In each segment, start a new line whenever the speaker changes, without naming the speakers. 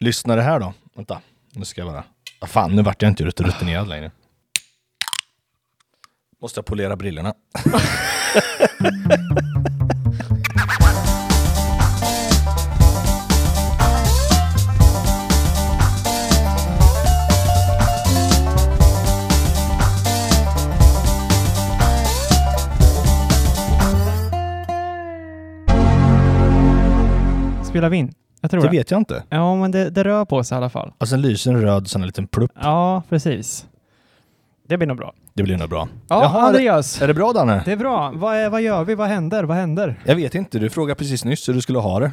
lyssnare här då. Vänta, nu ska jag bara... Ah, fan, nu vart jag inte rutinerad längre. Måste jag polera brillorna.
Spelar vi in? Jag tror
Det
det.
vet jag inte.
Ja, men det, det rör på sig i alla fall.
Och sen lyser en röd sån här liten plupp.
Ja, precis. Det blir nog bra.
Det blir nog bra.
Ja,
Jaha,
Andreas.
Är det Eh. bra Danne?
Det är bra. Vad, är, vad gör vi? Vad händer? Vad händer?
Jag vet inte, du frågade precis nyss hur du skulle ha det.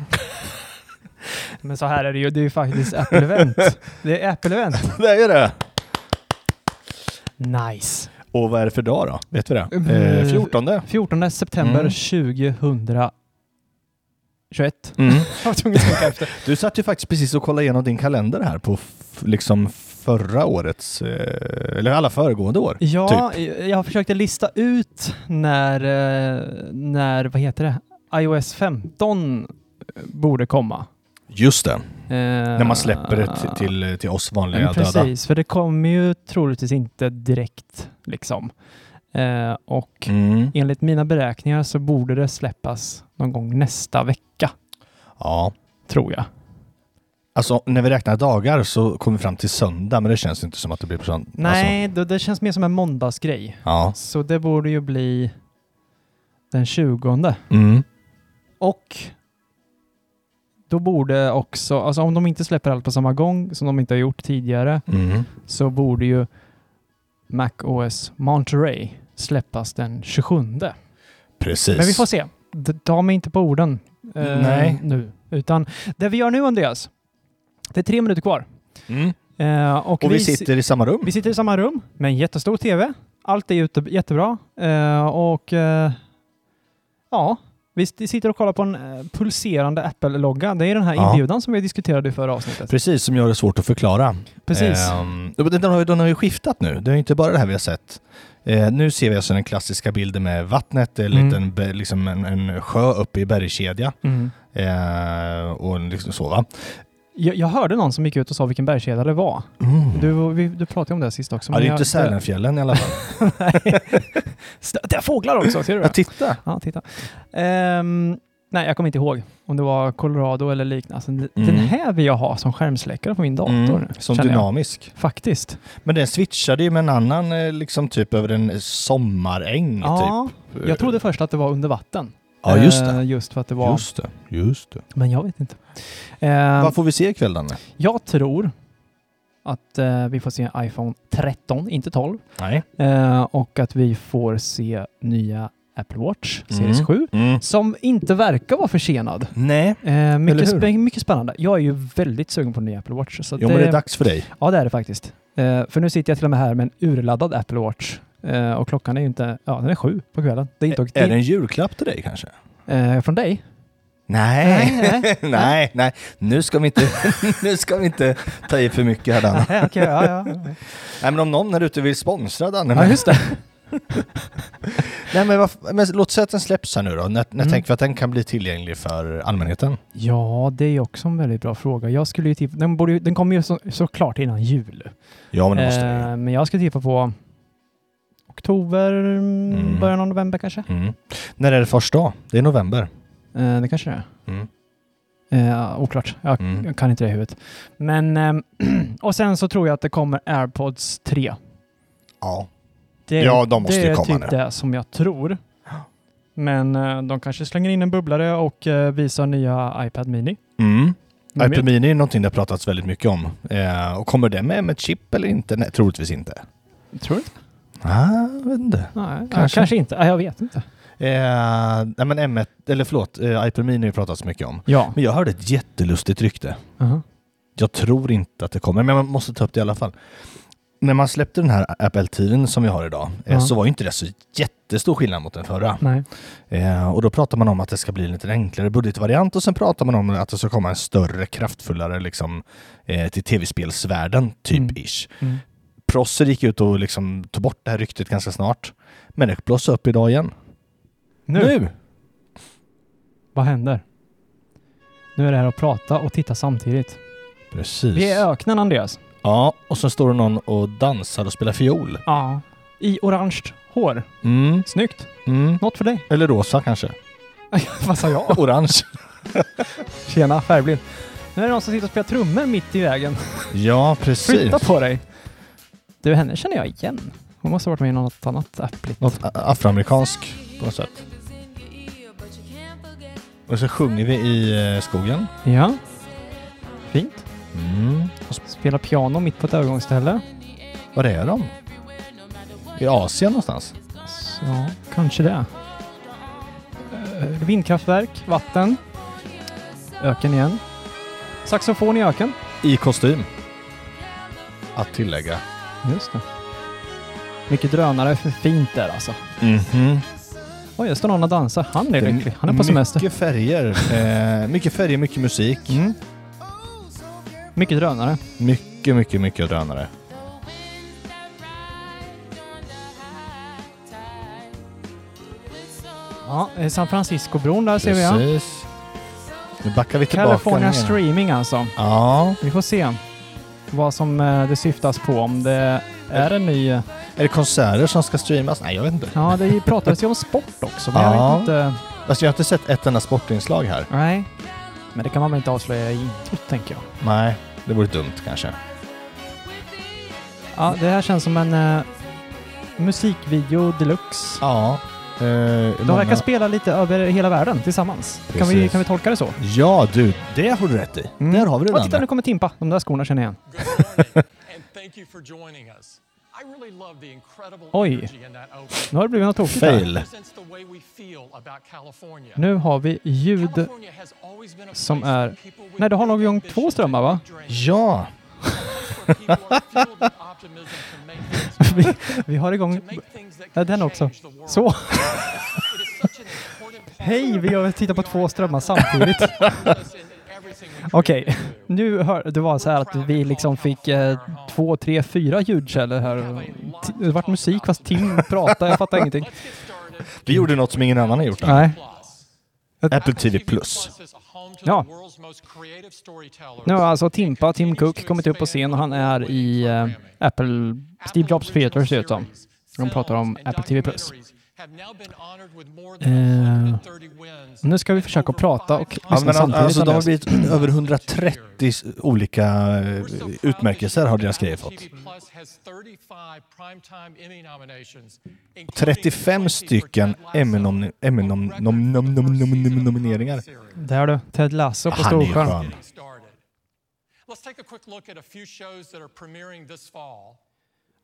Men så här är det ju. Det är ju faktiskt Apple-event. Det är Apple-event.
det är det!
Nice.
Och vad är det för dag då? Vet vi det?
Mm.
Eh, 14.
14 september
Mm.
2021.
Mm.
Jag var tvungen att tänka efter.
Du satt ju faktiskt precis och kollade igenom din kalender här på f- liksom förra årets, eh, eller alla föregående år.
Ja,
Typ.
jag försökte lista ut när, eh, när, vad heter det, iOS 15 borde komma. Eh,
Just det,
När
när man släpper det till, till, till oss vanliga
Ah. Men precis,
döda.
för det kommer ju troligtvis inte direkt liksom. Eh, och
Mm.
enligt mina beräkningar så borde det släppas någon gång nästa vecka,
Ja.
tror jag.
Alltså när vi räknar dagar så kommer vi fram till söndag, men det känns inte som att det blir på söndag. Alltså,
Nej, det, det känns mer som en måndagsgrej.
ja.
Så det borde ju bli den 20.
Mm.
Och då borde också, alltså om de inte släpper allt på samma gång som de inte har gjort tidigare,
Mm.
så borde ju Mac OS Monterey släppas den 27.
Precis.
Men vi får se. D- Ta mig inte på orden eh,
Nej.
nu. Utan det vi gör nu Andreas, det är tre minuter kvar.
mm.
Eh, och
Och vi
si-
sitter i samma rum.
vi sitter i samma rum med en jättestor TV. Allt är ute, jättebra. Eh, och eh, ja, vi st- sitter och kollar på en eh, pulserande Apple-logga. Det är den här
Ja.
inbjudan som vi diskuterade i förra avsnittet.
Precis, som gör det svårt att förklara.
Precis.
Ehm, den, har, ju- den har ju skiftat nu. Det är ju inte bara det här vi har sett. Eh, nu ser vi alltså den klassiska bilden med vattnet, det är en
Mm.
liten be- liksom en, en sjö uppe i bergskedja.
Mm.
Eh, och en liksom så va.
Jag, jag hörde någon som gick ut och sa vilken bergskedja det var. Du, vi, du pratade om det sist också.
Mm. ja, det är
men
ju
jag-
inte Sälenfjällen i alla fall.
St- Det är fåglar också, ser du det?
Ja, titta!
Ja, titta. Ehm, nej, jag kommer inte ihåg om det var Colorado eller liknande. Alltså, d-
Mm.
Den här vill jag ha som skärmsläckare på min dator.
Mm, som
känner jag.
dynamisk.
Faktiskt.
Men den switchade ju med en annan eh, liksom typ över en sommaräng.
Ja,
typ.
jag trodde först att det var under vatten.
Ja, just det.
Eh, Just för att det var...
Just det. Just det.
Men jag vet inte. Ehm,
Vad får vi se ikväll Danne?
jag tror att eh, vi får se en iPhone 13, inte 12.
Nej.
Eh, och att vi får se nya Apple Watch Series
Mm.
7. Som inte verkar vara försenad.
Nej.
Eh, mycket,
hur?
spä- mycket spännande. Jag är ju väldigt sugen på den nya Apple Watch. Så att
Jo men det är dags för dig.
Ja, det är det faktiskt. Eh, för nu sitter jag till och med här med en urladdad Apple Watch. Eh, och klockan är ju inte... Ja, den är sju på kvällen. Det är inte...
Är det en julklapp till dig kanske?
eh, från dig?
Nej,
Nej, nej.
nej, nej. Nu ska vi inte, nu ska vi inte ta i för mycket här Danne.
Nej, okej. ja, ja.
Nej men om någon där ute vill sponsra Danne.
ja, just det.
Nej, men, varf- men låt säga att den släpps här nu då. När, när
Mm.
tänker vi att den kan bli tillgänglig för allmänheten?
Ja, det är ju också en väldigt bra fråga. Jag skulle ju tippa... Den, borde, ju- den kommer ju så, såklart innan jul.
Ja men det måste den ju.
Eh, men jag ska tippa på oktober,
Mm.
början av november kanske.
Mm. När är det första dag? Det är november.
Eh, det kanske det är.
Mm.
Eh, oklart. Jag
Mm.
kan inte det i huvudet. Men, ehm, och sen så tror jag att det kommer AirPods 3.
Ja.
Det,
Ja, de måste
det
ju
är
komma
typ
nu.
det som jag tror. Men eh, de kanske slänger in en bubblare och eh, visar nya iPad Mini.
Mm.
Men
iPad Mini är någonting det har pratats väldigt mycket om. Eh, och kommer det med, med chip eller inte? Nej, troligtvis inte.
jag tror inte.
Ah, jag vet inte.
Nej, kanske,
Kanske.
kanske inte. Nej, jag vet inte.
Eh, nej men M1, eller förlåt, eh, iPad Mini har ju pratats mycket om.
Ja.
Men jag hörde ett jättelustigt rykte.
Aha.
Jag tror inte att det kommer, men man måste ta upp det i alla fall. När man släppte den här Apple tiden som vi har idag eh,
Ja.
så var ju inte det så jättestor skillnad mot den förra.
Nej.
Eh, och då pratar man om att det ska bli en lite enklare budgetvariant och sen pratar man om att det ska komma en större, kraftfullare liksom, eh, till tv-spelsvärlden, typ
Mm.
ish.
Mm.
Prosser gick ut och liksom tog bort det här ryktet ganska snart. Men det blossade upp idag igen.
Nu,
nu.
vad händer? Nu är det här att prata och titta samtidigt.
Precis.
Vi är i öknen, Andreas.
Ja, och så står det någon och dansar och spelar fiol.
Ja. I orange hår.
Mm,
Snyggt.
mm.
Något för dig.
Eller rosa kanske.
Vad sa jag?
Orange.
Tjena, färgblind. Nu är det någon som sitter och spelar trummor mitt i vägen.
Ja, precis.
Flytta på dig! Du, henne känner jag igen. Hon måste ha varit med i något annat äppligt.
Något a- afroamerikansk på något sätt. Och så sjunger vi i eh, skogen.
Ja. Fint.
Mm. Och så,
Spelar piano mitt på ett övergångsställe.
var är de? I Asien någonstans?
Så, ja, kanske det. Eh, Vindkraftverk, vatten. Öken igen. Saxofon i öken.
I kostym. Att tillägga.
Just det. Mycket drönare, för fint där alltså.
Mhm.
Oj, där står någon och dansar. Han är
Det
lycklig. Han är på semester.
Mycket färger. Eh, mycket färger, mycket musik.
Mm. Mycket drönare.
Mycket, mycket, mycket drönare.
Ja, eh, San Francisco-bron där ser vi. Ja.
Precis. Nu backar vi tillbaka.
California
ner.
Streaming alltså.
Ja.
Vi får se vad som eh, det syftas på. Om det är en ny... eh,
Är det konserter som ska streamas? Nej, jag vet inte.
Ja, det pratades ju om sport också, men jag
Ja.
vet inte...
Fast jag har inte sett ett enda sportinslag här.
Nej. Men det kan man väl inte avslöja i introt, tänker jag.
Nej, det vore dumt kanske.
Ja, det här känns som en eh, musikvideo deluxe.
Ja. Eh,
De
många-
verkar spela lite över hela världen tillsammans. Kan vi,
Precis.
kan vi tolka det så?
Ja, du. Det har du rätt i.
Mm.
Där har vi det.
Åh, titta,
Danne.
nu kommer Timpa. De där skorna känner jag igen.
Good morning, and thank you for joining us. I really love the incredible
Oj.
energy in that opening.
Nu har det blivit något tokigt här.
Fail.
Represents the way we feel about California.
Nu har vi ljud.
California has always been a
som
place
är-
for people with
Nej, du har nog
big
igång
ambitions
två strömmar, va?
and big dreams.
Ja.
Where people are filled with optimism to make things
Vi, vi har igång...
right, to make things that
Ja,
can
den också.
change the world.
Så!
It is such an important part
Hej, vi har tittat på två strömmar samtidigt.
of us in everything we try
Okej,
to do.
nu hör, det var så här att vi liksom fick eh, två, tre, fyra ljudkällor här. T- Det vart musik fast Tim pratade, jag fattar ingenting.
Let's get started.
Vi gjorde något som ingen annan har gjort. än.
Nej,
Plus.
Apple TV Plus.
Ja.
Ja.
nu har alltså Timpa, Tim Cook, kommit upp på scen och han är i eh, Apple, Steve Jobs Theater ser det ut som. De pratar om Apple TV+. Plus. Eh, Nu ska vi försöka prata och
Ja,
lyssna
men
samtidigt.
alltså, de har
Andreas.
blivit över 130 s- olika eh, utmärkelser har deras grejer fått. 35 stycken Emmy-nom- Emmy-nom- nom- nom- nom- nom- nom- nomineringar.
Där du, Ted Lasso på
Han är ju
Storsjön.
skön.
Let's take a quick look at a few shows that are premiering this fall.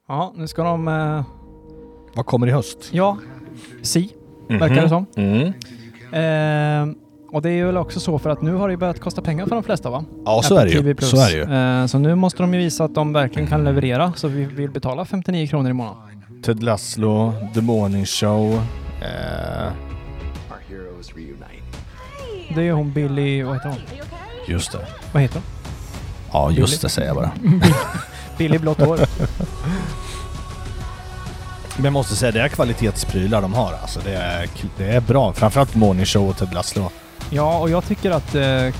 Ja, nu ska de... eh,
Vad kommer i höst?
Ja, si, verkar det som.
Mhm. Mm.
Ehm, och det är väl också så för att nu har det ju börjat kosta pengar för de flesta va?
Ja, så
Apple
är
TV+.
det ju. Så är det ju.
Ehm, så nu måste de ju visa att de verkligen kan leverera så vi vill betala 59 kronor i månaden.
Ted Lasso, The Morning Show. Eh,
Our heroes reunite.
Det är ju hon Billy, vad heter hon?
just det.
Vad heter hon?
Ja, just det säger jag bara.
Billy Blått hår.
Men jag måste säga, det är kvalitetsprylar de har. Alltså, det, är, det är bra. Framförallt Morning Show och Ted Lasso.
ja, och jag tycker att eh,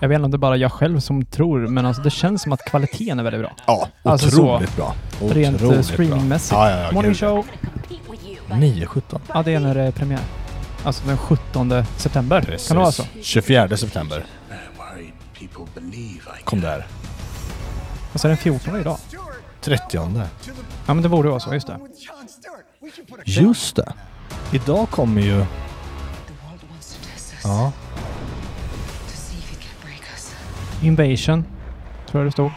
jag vet inte om det är bara jag själv som tror, men alltså det känns som att kvaliteten är väldigt bra.
Ja,
Alltså så,
otroligt bra.
Rent eh,
Otroligt
streamingmässigt.
Bra. Ja, ja, ja,
Morning
gud.
show,
9-17.
ja det är när det är premiär. Alltså den 17 september. Kan det vara så?
24 september
I worried people believe I
kom det här.
Och så är den 14 idag.
30.
Ja men det borde vara så, just det.
Just det. Idag kommer ju...
The world wants to test us
Ja.
to see if it can break us.
Invasion, tror jag det stod.
He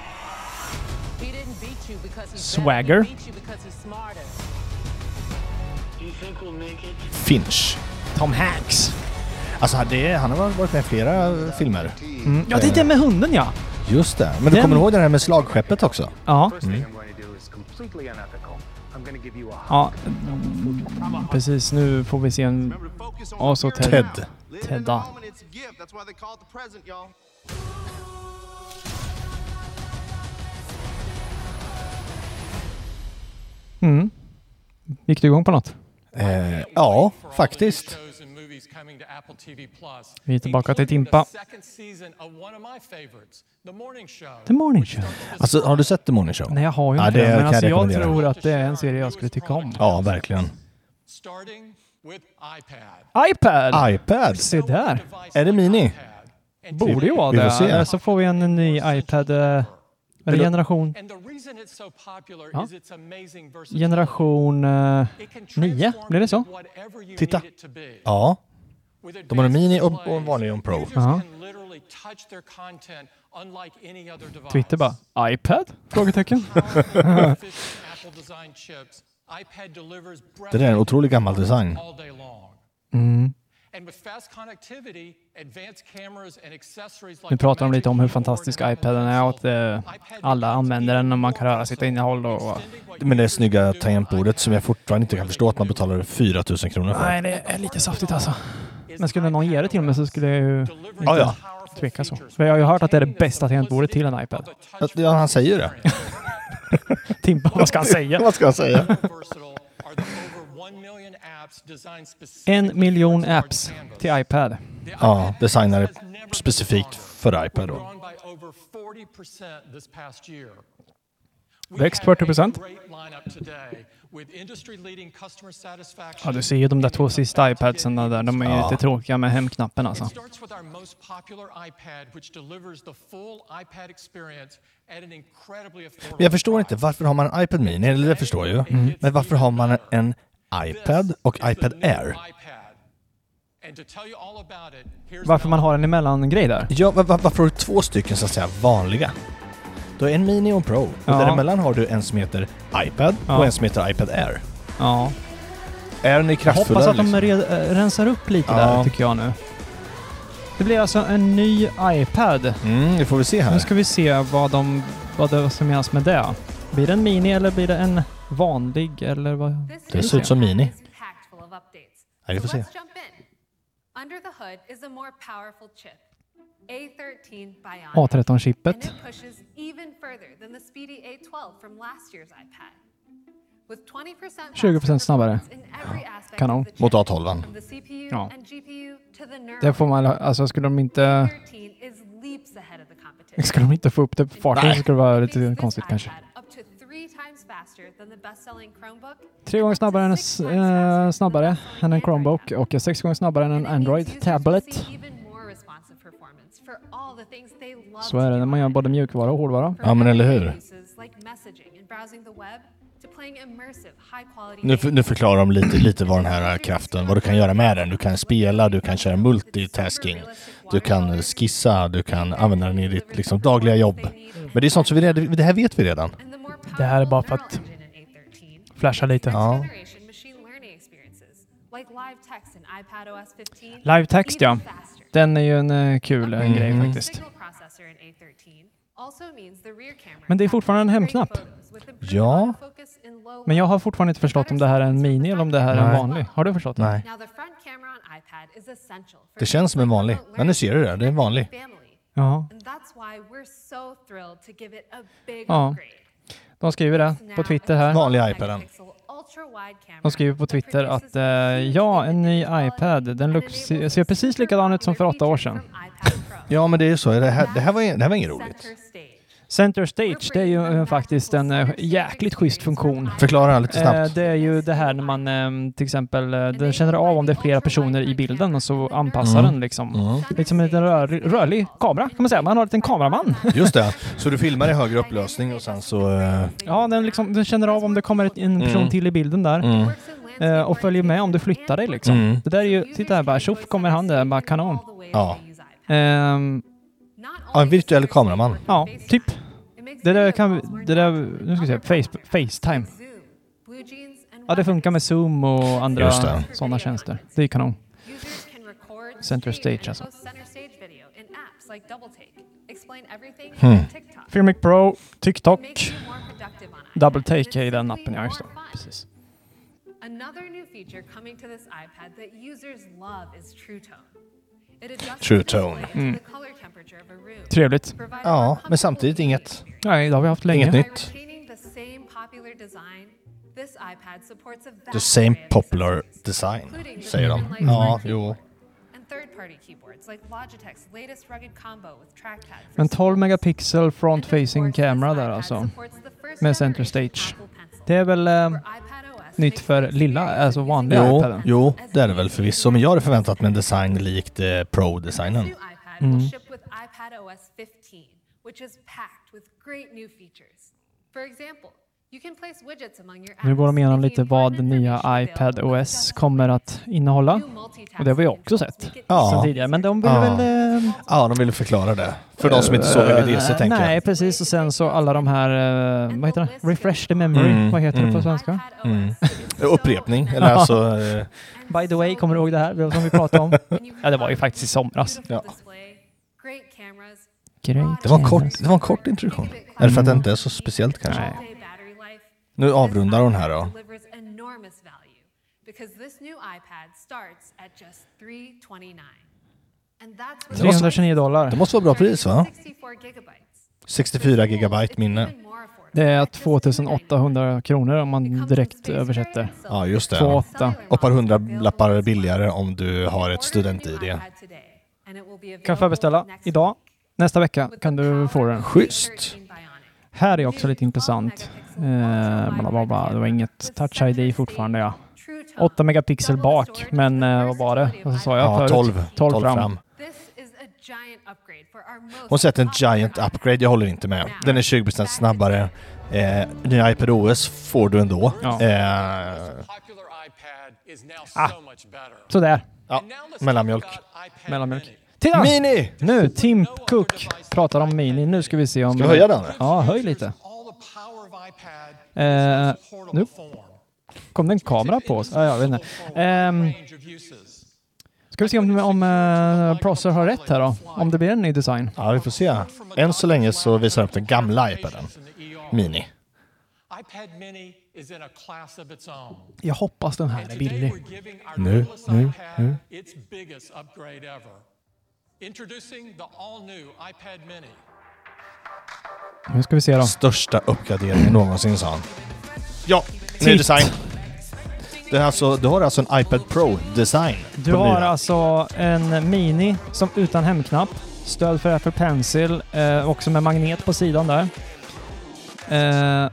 didn't beat you because he's
Swagger.
Better. He beat you because he's smarter.
Finch.
Tom Hanks.
Alltså det, är- han har varit med i flera filmer.
Mm. Ja, det är den med hunden ja!
Just det. Men
Den-
du kommer ihåg den här med slagskeppet också?
Ja,
First
Hmm?
thing I'm going to do is completely unethical. I'm going to give you a
ja. Mm, precis. Nu får vi se en... Och så Ted.
Alltså, Ted.
Tedda. Gick du igång på något?
Eh, ja, faktiskt. Eh,
Shows and movies coming to Apple TV Plus.
Vi är tillbaka till
including
Timpa.
the second season of one of my favorites, The Morning Show.
The Morning Show.
Alltså, har du sett The Morning Show?
Nej, jag har ju
Ja,
inte
det
det,
kan
men
jag
alltså, jag
rekommendera.
tror att det är en serie jag skulle tycka om.
Ja, verkligen.
Starting with iPad.
iPad!
iPad?
Se där!
Är det mini?
Borde ju vara
Vi får
det.
se.
Eller så får vi en ny iPad. eh, Eller generation...
And the reason it's so popular
Ja.
is its amazing versatility.
Generation... eh,
It can
nio,
transform
blir det så?
into whatever you
Titta.
need it to be.
Ja.
With
De har en
advanced
mini och-
displays,
och en vanlig och en pro.
users
Ja.
can literally touch their content unlike any other device.
Twitter bara... iPad? Frågetecken.
Det där är en otroligt gammal design.
Mm. Nu pratar de lite om hur fantastisk iPaden är och att eh, alla använder den när man kan röra sitt innehåll och... och
Men det snygga tangentbordet som jag fortfarande inte kan förstå att man betalar 4 000 kronor för.
Nej, det är lite saftigt alltså. Men skulle någon ge det till mig så skulle jag ju
Ja, ja.
tveka så. För jag har ju hört att det är det bästa tangentbordet till en iPad.
Ja, han säger det.
Timpa, vad ska han säga?
Vad ska jag säga?
En miljon apps till iPad.
Ja, designade specifikt för iPad då.
Växt 40%. Ja, du ser ju de där två sista iPadsen där. De är ju lite tråkiga med hemknappen alltså.
It starts with our most popular iPad, which delivers the full iPad experience at an incredibly affordable
Men jag förstår inte,
price.
varför har man en iPad Mini? Eller det förstår jag ju.
Mm.
Men varför har man en iPad och
This is the
iPad
new
Air?
iPad. And to tell you all about it, here's
Varför man
Mel.
har en emellan-grej där.
Ja, va- va- varför har du två stycken så att säga vanliga? Du har en Mini och en Pro. Och
Ja.
däremellan har du en som heter iPad
Ja.
och en som heter iPad Air.
Ja.
Airen är kraftfullare
Hoppas att de
liksom.
re- eh, rensar upp lite där
Ja.
tycker jag nu. Det blir alltså en ny iPad.
Mm, det får vi se
Nu
här.
ska vi se vad, de, vad det, som menas med det. Blir det en mini eller blir det en vanlig eller vad?
Det ser ut som Mini.
Impactful of updates.
Ja, vi får
So
se.
let's jump in. Under the hood is a more powerful chip, A13 Bionic. And
A13-chippet.
it pushes even further than the speedy A12 from last year's iPad. With 20% faster
20% snabbare. Ah,
performance in every aspect
Kanon.
of the chip,
Mot A12.
from the CPU
Ja.
and GPU to the
Det
neural.
får man, alltså skulle de inte,
A13 is leaps ahead of the competition.
skulle de inte få upp det på farten så skulle det vara lite
Makes this
konstigt kanske.
iPad up to three times faster than the best-selling Chromebook
Tre gånger snabbare än, en s- eh, snabbare än en Chromebook och sex gånger snabbare än en Android Tablet. Så är det när man gör både mjukvara och hårdvara.
Ja, men eller hur? Nu, för- nu förklarar de lite, lite vad den här kraften, vad du kan göra med den. Du kan spela, du kan köra multitasking, du kan skissa, du kan använda den i ditt liksom, dagliga jobb. Men det är sånt som vi redan, det här vet vi redan.
Det här är bara för att- Flasha lite.
Ja.
Live text, ja. Den är ju en eh, kul
Mm.
Mm.
eh, grej faktiskt. Men det är fortfarande en hemknapp.
Ja.
Men jag har fortfarande inte förstått om det här är en mini eller om det här är en
Nej.
vanlig. Har du förstått? det?
Nej. Det känns som en vanlig. Ja, nu ser du det. Det är en vanlig.
Ja, Ja.
Ja.
de skriver det på Twitter här.
Vanlig iPaden.
De skriver på Twitter att eh, ja, en ny iPad. Den look, se- ser precis likadan ut som för åtta år sedan.
Ja, men det är ju så. Det här, det här, var, det här var inget roligt.
Center Stage, det är ju eh, faktiskt en eh, jäkligt schysst funktion.
Förklara lite
Eh,
snabbt.
det är ju det här när man eh, till exempel, eh, den känner av om det är flera personer i bilden och så anpassar
Mm.
den liksom.
Mm.
Lite som en liten rörlig, rörlig kamera kan man säga. Man har en liten kameraman.
Just det. Så du filmar i högre upplösning och sen så... eh,
Eh. Ja, den, liksom, den känner av om det kommer ett- en person
Mm.
till i bilden där.
Mm.
Eh, och följer med om du flyttar dig liksom.
Mm.
Det där är ju, titta här bara, tjoff kommer han där, bara kanon.
Ja.
Ehm,
Ja, en virtuell kameraman.
ja, typ. Det där kan vi, det där, nu ska vi se, face, Facetime. Ja, det funkar med Zoom och andra
Just det.
sådana tjänster. Det är kanon.
Center Stage alltså.
Hmm.
Filmic Pro,
Makes
TikTok,
you more productive on iPad.
Double Take är
It's
ju den
simply
appen, ja just det.
more fun.
Precis.
Another new feature coming to this iPad that users love is True Tone. It adjusts the
True
display
Tone.
to the color temperature of a room,
Trevligt.
providing a
Ja, men
comfortable
samtidigt
reading
inget,
experience.
Nej, det har vi haft länge.
inget
By
nytt.
retaining the same popular design, this iPad supports a
The
vast
same
array of
popular
accessories,
design,
including the
säger de.
Human Light
Ja,
Smart
jo.
and third-party keyboards like Logitech's latest rugged combo with trackpad for
En 12 megapixel front facing
front-facing
camera
camera
där alltså. Med
Med
center
center
stage.
stage.
Det är väl eh,
nytt för lilla, alltså vanliga
Ja,
Jo,
iPaden.
jo, det är det väl förvisso. Men jag hade förväntat mig en design likt eh, Pro-designen.
Mm.
nu går de igenom lite vad den nya iPad OS kommer att innehålla.
Och det har vi också sett.
Ja.
Sen tidigare. Men de vill
Ja.
väl... eh,
Ja, de ville förklara det. Eh, För de som inte såg VVDC tänker
Nej,
jag.
precis. Och sen så alla de här... eh, vad heter det? Refresh the memory.
Mm,
Vad heter det på
mm.
svenska?
Mm.
Upprepning, eller alltså... eh,
By the way, kommer du ihåg det här som vi pratade om? ja, det var ju faktiskt i somras.
Ja.
Great.
Det var en kort, det var en kort introduktion. Är det för att det
Mm.
inte är så speciellt kanske?
Nej.
Nu avrundar hon här då.
Because this new iPad starts at just 329. And that's what-
329 dollar.
Det måste vara bra pris va?
64 gigabytes.
64 gigabyte minne.
Det är 2800 kronor om man direkt översätter.
Ja, just det.
Två åtta.
Och ett par hundra lappar billigare om du har ett student-id.
Kan förbeställa idag. Nästa vecka kan du få den.
Schysst.
Här är också lite intressant. Eh, bla bla bla. Det var inget touch ID fortfarande ja. 8 megapixel bak, men eh, vad var det? Vad sa jag
Ja,
förut?
12.
12 fram.
Hon
Hon
sätter
sätter
en giant upgrade.
upgrade, jag håller inte med. Den är 20% snabbare. Eh, nya iPad OS får du ändå.
Ja.
Eh,
Popular iPad is now so much better.
Ah. Sådär.
ja,
Now let's
mellanmjölk.
talk about iPad
Mellanmjölk.
Mini.
Titta!
Mini!
Nu, Tim Cook pratar om Mini. Nu ska vi se om...
Ska vi höja den?
Ja, höj lite.
All the power of iPad
Eh,
in its portable
nu.
form.
Kom det en kamera på oss? Ja, jag vet inte. Ehm,
Range of uses.
ska vi se om, om eh, Prosser har rätt här då? Om det blir en ny design.
Ja, vi får se. Än så länge så visar jag upp den gamla iPaden. Mini.
iPad Mini is in a class of its own.
Jag hoppas den här är
Today
billig.
we're giving our
Nu,
newest
nu,
iPad its biggest upgrade ever. Introducing the all-new iPad Mini.
Nu ska vi se då.
Största uppgraderingen någonsin sa han. Ja, ny
Titt.
design. Det är alltså, du har alltså en iPad Pro-design.
Du har alltså en Mini som utan hemknapp, stöd för Apple Pencil, eh, också med magnet på sidan där. Eh,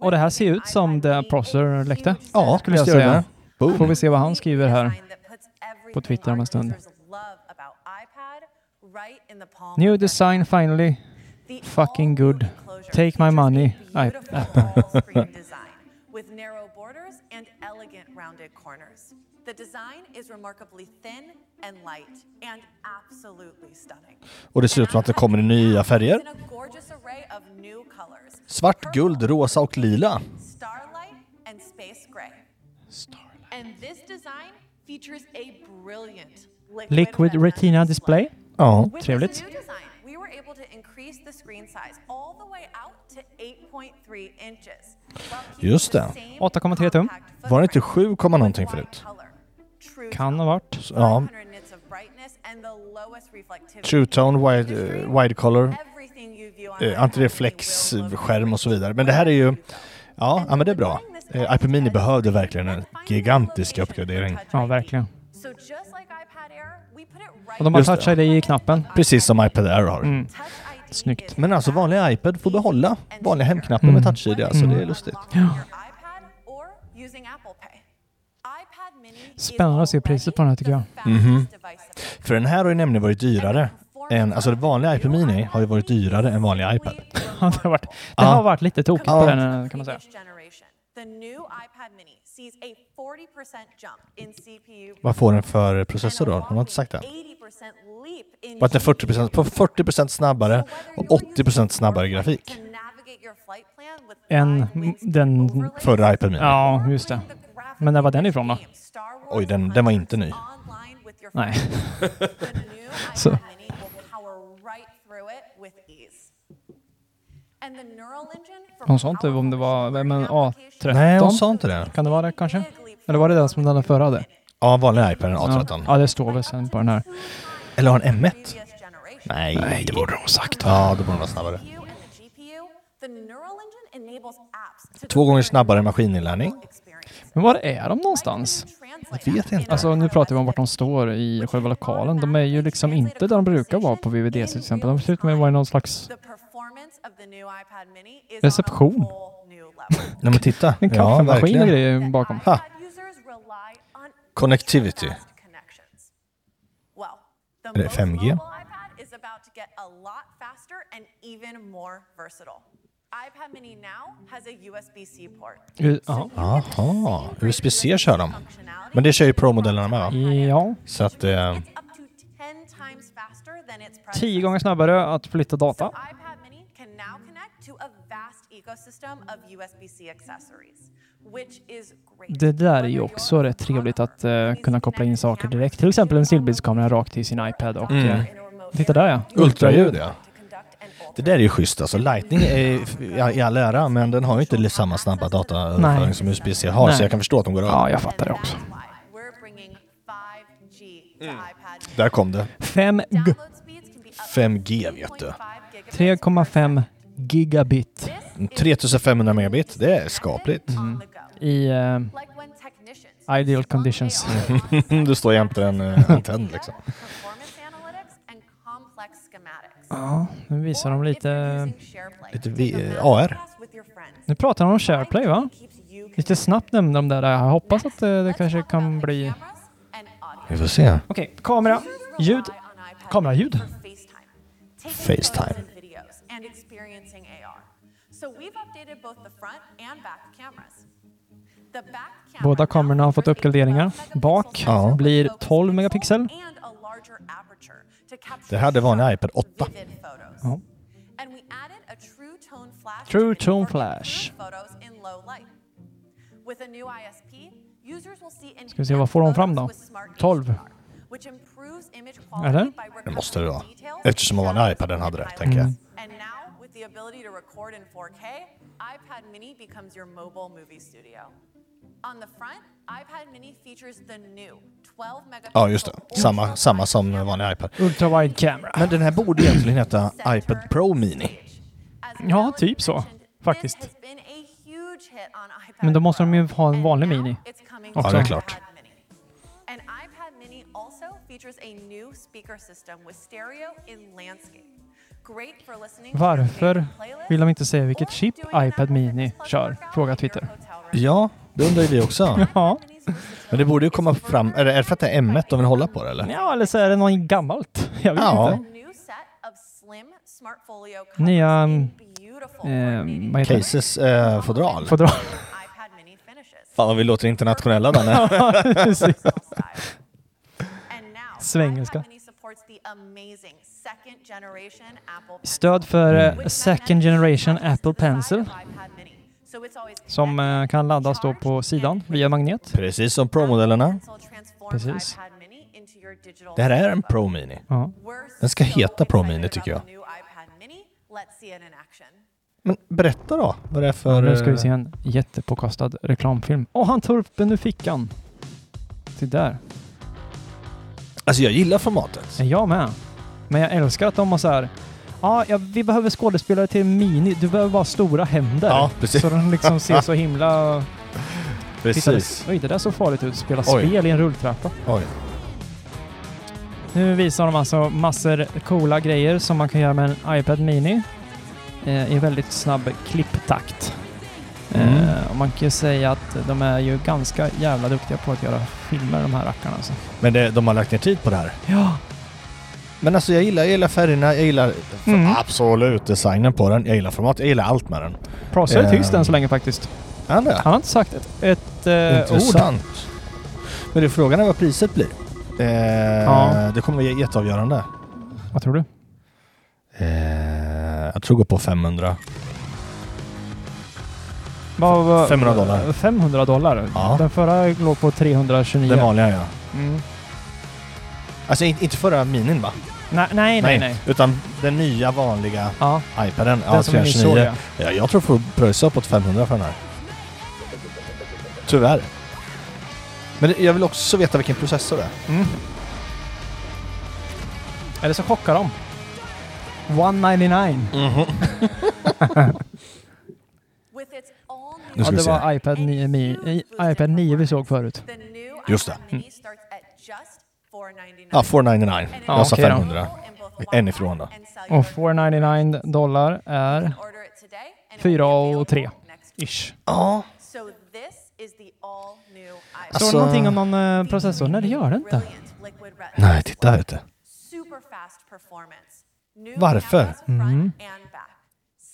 Och det här ser ut som det Prosser läckte.
Ja,
skulle jag
visst gör
säga.
det.
får
Boom.
vi se vad han skriver här.
på Twitter om en stund.
New design finally.
fucking good. Take my money.
I-
With narrow borders and elegant rounded corners. The design is remarkably thin and light and absolutely stunning.
Och det ser ut som att det kommer i nya färger.
In a gorgeous array of new colors.
Svart, guld, rosa och lila.
Starlight and space gray. And this design features a brilliant
Liquid Retina Display.
Ja.
With
Trevligt.
this new design, we were able to increase the screen size all the way out to 8.3 inches. while keeping
Just
the
det.
same
8,3 tum.
compact
Var det inte
footprint
7, komma någonting
with wide
förut?
color. True
Kan ha varit.
Ja.
500 nits of brightness and the lowest reflectivity.
True tone, wide, eh, wide color,
Everything you view on
eh,
iPad
antireflex,
will look
skärm och så vidare. Men det här är ju... Ja, ja men det är bra. Eh, iPad Mini behövde verkligen en gigantisk uppgradering.
Ja, verkligen.
So just like iPad Air, we put it right
Och de har
Just det.
touch ID i knappen.
Precis som iPad Air har.
Mm.
Touch ID
Snyggt.
is
Men alltså vanliga iPad får behålla vanliga hemknappar
Mm.
med touch-id. Alltså det är lustigt.
Ja.
Spännande att se priset på den här, tycker jag.
Mhm. För den här har ju nämligen varit dyrare. Än, alltså det vanliga iPad Mini har ju varit dyrare än vanliga iPad.
Ja, det har varit, det har varit lite tokigt på
Ja.
den eh, kan man säga.
Vad får den för processor då? Hon har inte sagt det. Vart den 40%, på 40% snabbare och 80% snabbare grafik.
Än den-
Förra iPad Mini.
Ja, just det. Men när var den ifrån då?
Oj, den- den var inte ny.
Nej.
Så.
Hon sa inte om det var vem en A13.
Nej, hon sa inte det.
Kan det vara det kanske? Eller var det den som den där förra hade?
Ja, vanliga iPaden
Ja.
A13.
ja, det står väl sen på den här.
Eller har en M1? Nej. Nej, det borde
hon sagt.
Ja, det borde vara snabbare. Två gånger snabbare maskininlärning.
Men var är de någonstans?
Jag vet inte.
Alltså nu pratar vi om vart de står i själva lokalen. De är ju liksom inte där de brukar vara på VVDC till exempel. De ser ut att vara i någon slags... Reception.
Reception.
Nej men titta.
En kaffemaskin och grejer bakom.
Bakom.
Ha. Connectivity. Är det 5G?
Ju- Ja.
Aha, USB-C kör de. Men det kör ju Pro-modellerna med va?
Mm. ja.
Så att eh,
Tio gånger snabbare att flytta data.
So iPad Mini can now connect to a vast ecosystem of USB-C accessories, which is great.
Det där är ju också rätt trevligt att eh, kunna koppla in saker direkt. Till exempel en stillbildskamera rakt till sin iPad och...
Mm.
Eh, titta där ja.
ultraljud ja. Det där är ju schysst alltså. Lightning är i- i all ära, men den har ju inte samma snabba dataöverföring
Nej.
som USB-C har,
Nej.
så jag kan förstå att de går över.
Ja, jag fattar det också.
We're bringing 5G to iPad.
Mm. Där kom det.
5 g-
Download speeds can be up
5G vet du.
3,5 gigabit
3500 megabit, det är skapligt.
on the go.
i... Eh,
Like when technicians
Ideal conditions.
Du står jämte en eh, antenn liksom.
performance analytics and complex schematics.
ja, nu visar de lite...
Lite vi- eh, AR.
With your friends.
Nu pratar de om SharePlay va?
Keeps you
Lite snabbt nämnde de där. Jag hoppas att eh, det kanske kan bli...
cameras and audio.
Vi får se.
Okej, kamera, ljud. Kameraljud.
FaceTime.
Båda kamerorna har fått uppgraderingar. Bak
Ja.
blir 12 megapixel.
Det här, det var en iPad 8.
Ja.
True Tone Flash. Ska vi se, vad får de fram då?
12.
12.
Eller?
Eller?
Det måste det vara. Eftersom det var en iPad den hade det, tänker jag.
And now, with the ability to record in 4K, iPad Mini becomes your mobile movie studio. On the front, iPad Mini features the new 12 megapixel.
Ja, just det. Samma, samma som
ultra-wide
vanlig iPad.
Ultra wide camera.
Men den här borde egentligen heta iPad Pro Mini.
Ja, typ så, faktiskt.
This has been a huge hit on iPad
Men då måste de ju
Pro.
ha en
And
vanlig
now
mini.
it's coming
Ja,
to
det är
klart.
iPad Mini. And iPad Mini also features a new speaker system with stereo in landscape. Great for listening to your
Varför
favorite playlist
vill de inte säga vilket
or
chip
doing an
iPad Mini
effortless
kör?
workout
Frågar
in your
Twitter.
hotel room.
Ja, det undrar ju vi också.
Ja.
Men det borde ju komma fram, är det, är det för att det är M1 de vill hålla på det, eller?
ja, eller så är det något gammalt. Jag vet
Ja.
inte.
New set of slim smart folio covers
Nya,
in beautiful
Eh,
coordinating
vad heter det?
Cases eh, fodral.
Får dra.
iPad Mini finishes.
Fan vad vi låter internationella där nu.
Precis.
And now,
Svengelska.
iPad Mini supports the amazing second generation Apple Pencil.
Stöd för eh, second generation Apple Pencil som eh, kan laddas då på sidan via magnet.
Precis som Pro-modellerna.
Precis.
Det här är en Pro Mini.
Ja.
Den ska heta Pro Mini, tycker jag. Men berätta då vad det är för...
Nu ska vi
eh,
se en jättepåkostad reklamfilm. Åh, han tar upp den ur fickan. Se där.
Alltså jag gillar formatet.
Men Jag med. Men jag älskar att de har så här. Ja, ja, vi behöver skådespelare till mini. Du behöver bara stora händer.
Ja, precis.
Så de liksom ser så himla...
Precis.
Titta, Oj, det där såg farligt ut. Spela
Oj.
spel i en rulltrappa.
Oj.
Nu visar de alltså massor coola grejer som man kan göra med en iPad Mini eh, i väldigt snabb klipptakt.
Mm.
Eh, och man kan ju säga att de är ju ganska jävla duktiga på att göra filmer de här rackarna. Alltså.
Men det, de har lagt ner tid på det här.
Ja,
Men alltså jag gillar, jag gillar färgerna, jag gillar för-
Mm.
absolut designen på den, jag gillar formatet, jag gillar allt med den.
Pross är
Eh,
tyst än så länge faktiskt.
Ja, det är
Han har inte sagt ett, ett eh, ord.
Intressant. Men det är frågan är vad priset blir. Eh,
Ja.
Det kommer vara j- jätteavgörande.
Vad tror du?
Eh, jag tror gå på 500.
Vad- vad-
500 dollar.
500 dollar?
Ja.
Den förra låg på 329.
Den vanliga ja.
Mm.
Alltså in, inte förra minin va?
Nej, nej, nej. nej.
Utan den nya vanliga
Ja,
iPaden.
den
ja,
som är nyss såg
329.
jag.
Ja, jag tror får pröjsa uppåt 500 för den här. Tyvärr. Men det- jag vill också veta vilken processor det är.
Eller så chockar de. 199.
Nu
Ja,
ska vi
det
se.
var iPad 9, mi, i- iPad 9 vi såg förut. Mm.
Just det. Ja,
Ja,
499.
Ja,
Jag sa
okej då.
500. En ifrån då.
Mm. Och 499 dollar är 4 och 3 ish.
Ja.
So this is the all new iPhone.
Står
Alltså-
det någonting om någon eh, processor? Nej, det gör det inte.
Brilliant liquid retina
Nej, titta här ute.
Super fast performance. New
Varför?
cameras front and back.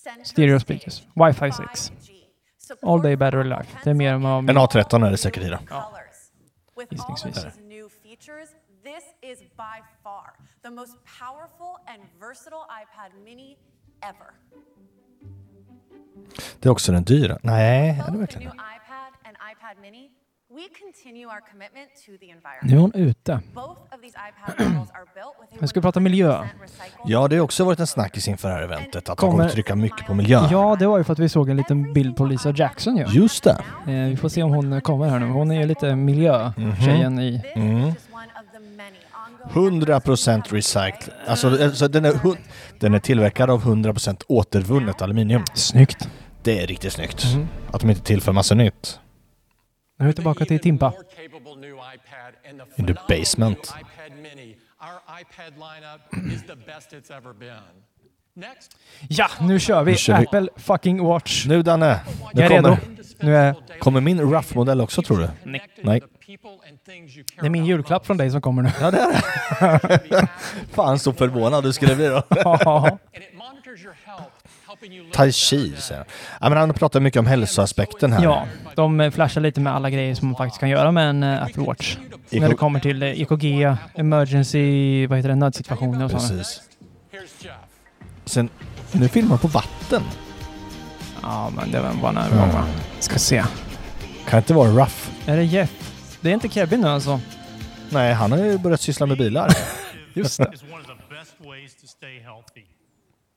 Center
Mm. Stereo
stage.
speakers. Wi-Fi 6.
5G. Support
All day battery life. Det är mer än vad...
En A13 är det säkert i den.
Colors. With all of
Gissningsvis.
these new features, this is by far the most powerful and versatile iPad mini ever.
Det är också den dyra. Nej, är det
Both the
verkligen
new
det?
iPad and iPad mini, we continue our commitment to the
Nu är
environment.
hon ute.
Both of these iPad models are built with a
Nu ska vi prata miljö.
100% recycled
Ja, det har också varit en snackis inför det här eventet att de
Kommer-
kommer trycka mycket på miljön.
Ja, det var ju för att vi såg en liten bild på Lisa Jackson ju.
Just det.
Eh, vi får se om hon kommer här nu. Hon är ju lite
Mhm.
miljötjejen i...
This
Mm.
is just one of the many ongoing
100% recycled. Alltså, alltså den, är, hun- den är tillverkad av 100% återvunnet aluminium.
Snyggt.
Det är riktigt snyggt.
Mhm.
Att de inte tillför massa nytt.
Nu är vi tillbaka till Timpa.
In the basement.
iPad Mini. Our iPad lineup is the best it's ever been. Next,
Ja, nu kör vi!
Nu kör vi.
Apple fucking Watch.
Nu Danne, nu
Jag är
kommer.
redo. Nu är...
Kommer min rough-modell också tror du?
Nej.
Nej.
Det är min julklapp från dig som kommer nu.
Fan så förvånad du skulle bli då.
Ja.
Tai Chi säger han. Ja, men han pratar mycket om hälsoaspekten här.
Ja, de eh, flashar lite med alla grejer som man faktiskt kan göra med en eh, Apple Watch. När det kommer till eh, EKG, emergency, vad heter det, nödsituationer och sådana.
Precis. Sen, nu filmar på vatten.
Ja, men det var bara en övergång va? Ska se.
Kan inte vara en rough.
Är det Jeff? Det är inte Kevin nu alltså?
Nej, han har ju börjat syssla med bilar.
Just det.
is one of the best ways to stay healthy.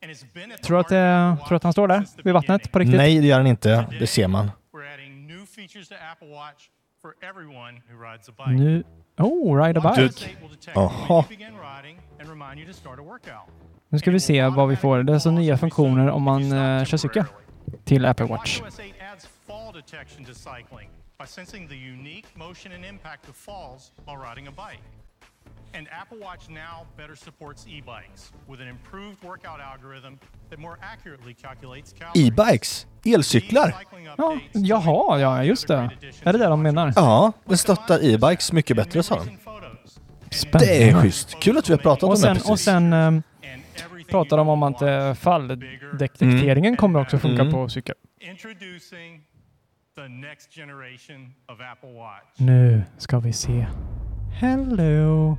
And it's been at the
Tror du
heart
att, det,
of Apple
tror du att han
Watch
står där
since the
vid vattnet
beginning.
på riktigt?
Nej, det gör han inte. Det ser man.
We're adding new features to Apple Watch for everyone who rides a bike.
Nu... Oh, ride a
Watch
bike.
OS 8 will detect
Aha.
when you begin riding and remind you to start a workout.
Nu ska vi se vad vi får. Det är alltså nya funktioner om man eh, kör cykel till Apple Watch.
WatchOS 8 adds fall detection to cycling by sensing the unique motion and impact of falls while riding a bike. And Apple Watch now better supports e-bikes with an improved workout algorithm that more accurately calculates calories.
E-bikes? Elcyklar?
Ja, jaha, ja just det. Är det det de menar?
Ja, den stöttar e-bikes mycket bättre sa de.
Spännande.
Det är schysst. Kul att vi har pratat om
Mm. Och sen,
det precis.
och sen ehm, pratar de om att eh, falldäckdikteringen kommer också funka på cykel.
Introducing the next generation of Apple Watch.
Nu ska vi se. Hello!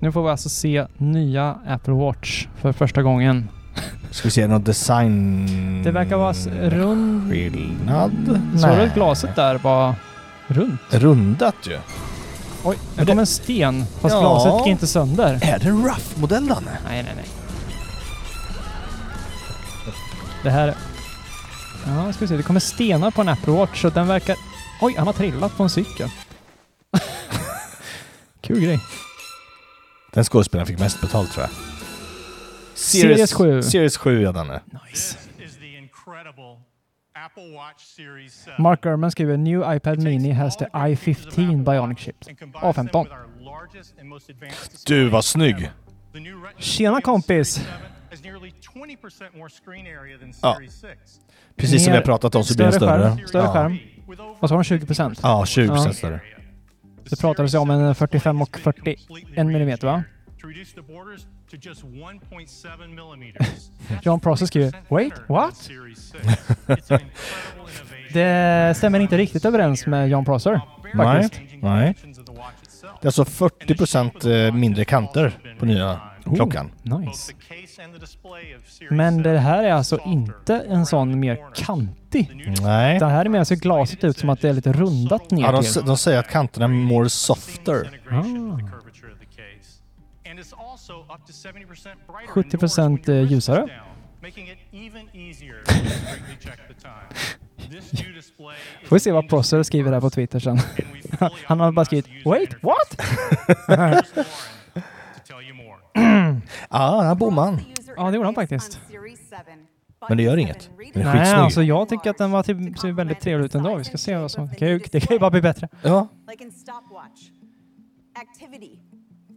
Nu får vi alltså se nya Apple Watch för första gången.
Ska vi se, någon design...
Det verkar vara s- rund...
Skillnad?
Såg du
Nej.
att glaset där var runt?
Rundat ju.
Oj, det kom en sten. Fast
Ja.
glaset gick inte sönder.
Är det en rough-modell Danne?
Nej, nej, nej. Det här... Ja, ska vi se. Det kommer stenar på en Apple Watch och den verkar... Oj, han har trillat på en cykel. Kul grej.
Den skådespelaren fick mest betalt tror jag.
Series 7.
Series 7 ja Danne.
Nice.
This is the incredible Apple Watch Series 7.
Mark Gurman skriver New iPad Mini has the i15 Bionic chip. A15.
Du, vad snygg.
Tjena, kompis.
Ja. Precis som vi
Mer-
har pratat om så blir den större.
skärm. Större skärm. Vad sa de? 20 procent?
Ja, 20
Ja.
större.
Det pratades ju om en 45 och 41 millimeter, va? John Prosser skriver, "Wait, what?" Det stämmer inte riktigt överens med John Prosser.
Nej.
Faktiskt.
Nej. Det är alltså 40% mindre kanter på nya
Oh.
klockan.
Nice. Men det här är alltså inte en sån mer kantig.
Nej.
Det här är mer så glaset ut som att det är lite rundat
Ja, de,
ner
s-
till.
de säger att kanterna är more softer.
Ah. 70% eh, ljusare. Får vi se vad Prosser skriver här på Twitter sen. Han har bara skrivit “Wait, what?”
Ja, ah, där bommar han.
Ja, det gjorde han faktiskt.
Men det gör inget. Den är
Nej,
skitsnygg.
alltså jag tycker att den var typ, ser väldigt trevlig ut ändå. Vi ska se vad som... Det kan ju, det kan ju bara bli bättre.
Ja.
like in stopwatch. Activity.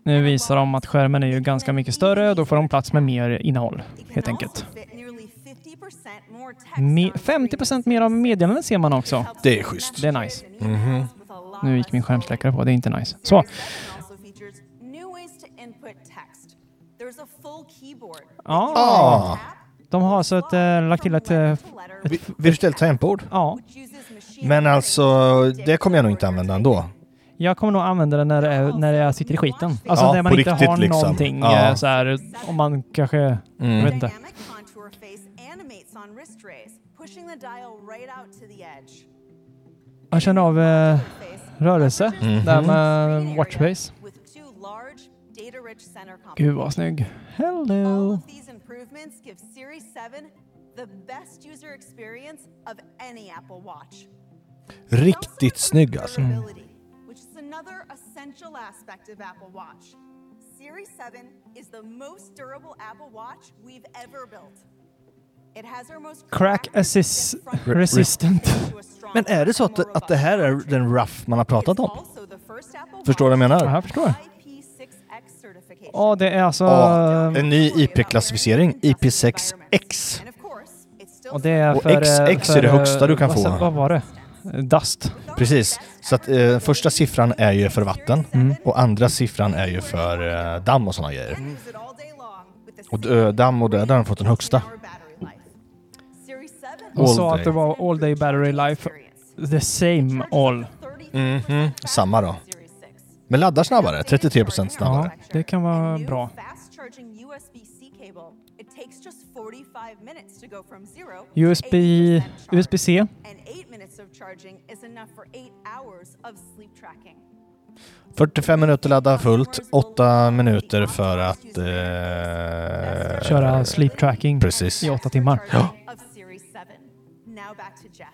Nu visar de att skärmen är ju ganska mycket större och då får de plats med mer innehåll, helt enkelt.
Fit nearly 50% more text
Me- 50 mer av meddelanden ser man också.
Det är schysst.
Det är nice.
Mhm.
Nu gick min skärmsläckare på, det är inte nice. Så,
and also features new ways to input text. There's a full keyboard.
ja.
Ah.
De har alltså ett, eh, lagt till ett... eh,
Vi- Virtuellt tangentbord?
Ja.
Men alltså, det kommer jag nog inte använda ändå.
Jag kommer nog använda den när, det är- när jag sitter i skiten. Alltså
Ja,
när man
på
inte
riktigt
har
liksom.
någonting
Ja. Mm.
eh, så här, om man kanske... Jag vet inte.
Dynamic contour face animates on wrist raise, pushing the dial right out to the edge.
Man känner av eh, rörelse
Mhm.
där med watchface.
With two large, data-rich center components.
Gud vad snygg. Hello!
These improvements give Series 7 the best user experience of any Apple Watch.
Riktigt snygg
Hmm.
alltså.
Mm.
Durability, which is another essential aspect of Apple Watch. Series 7 is the most durable Apple Watch we've ever built. It has our most
Crack assist resistant.
Men är det så att, att det här är den rough man har pratat om? Förstår du vad jag
Ja,
menar?
jag förstår. Ja, det är alltså...
Ja, en ny IP-klassificering, IP6X.
Och det är
Och
för... eh,
XX är
för,
det
eh,
högsta du kan
vad
få.
sa- Vad var det? Dust.
Precis, så att eh, första siffran är ju för vatten
Mm.
och andra siffran är ju för eh, damm och sådana grejer. Och eh, damm och det, där har de fått den högsta.
De
All
sa
day.
att det var all day battery life. The same all.
Mhm, samma då. Men laddar snabbare, 33%
Ja,
snabbare.
det kan vara bra.
fast charging USB-C cable. It takes just 45 minutes to go from zero to
USB,
80% charge.
USB-C.
And 8 minutes of charging is enough for 8 hours of sleep tracking.
45 minuter ladda fullt, 8 minuter för att... Eh,
Köra sleep tracking
Precis.
i åtta timmar.
Charging Of Series 7. Now back to Jeff.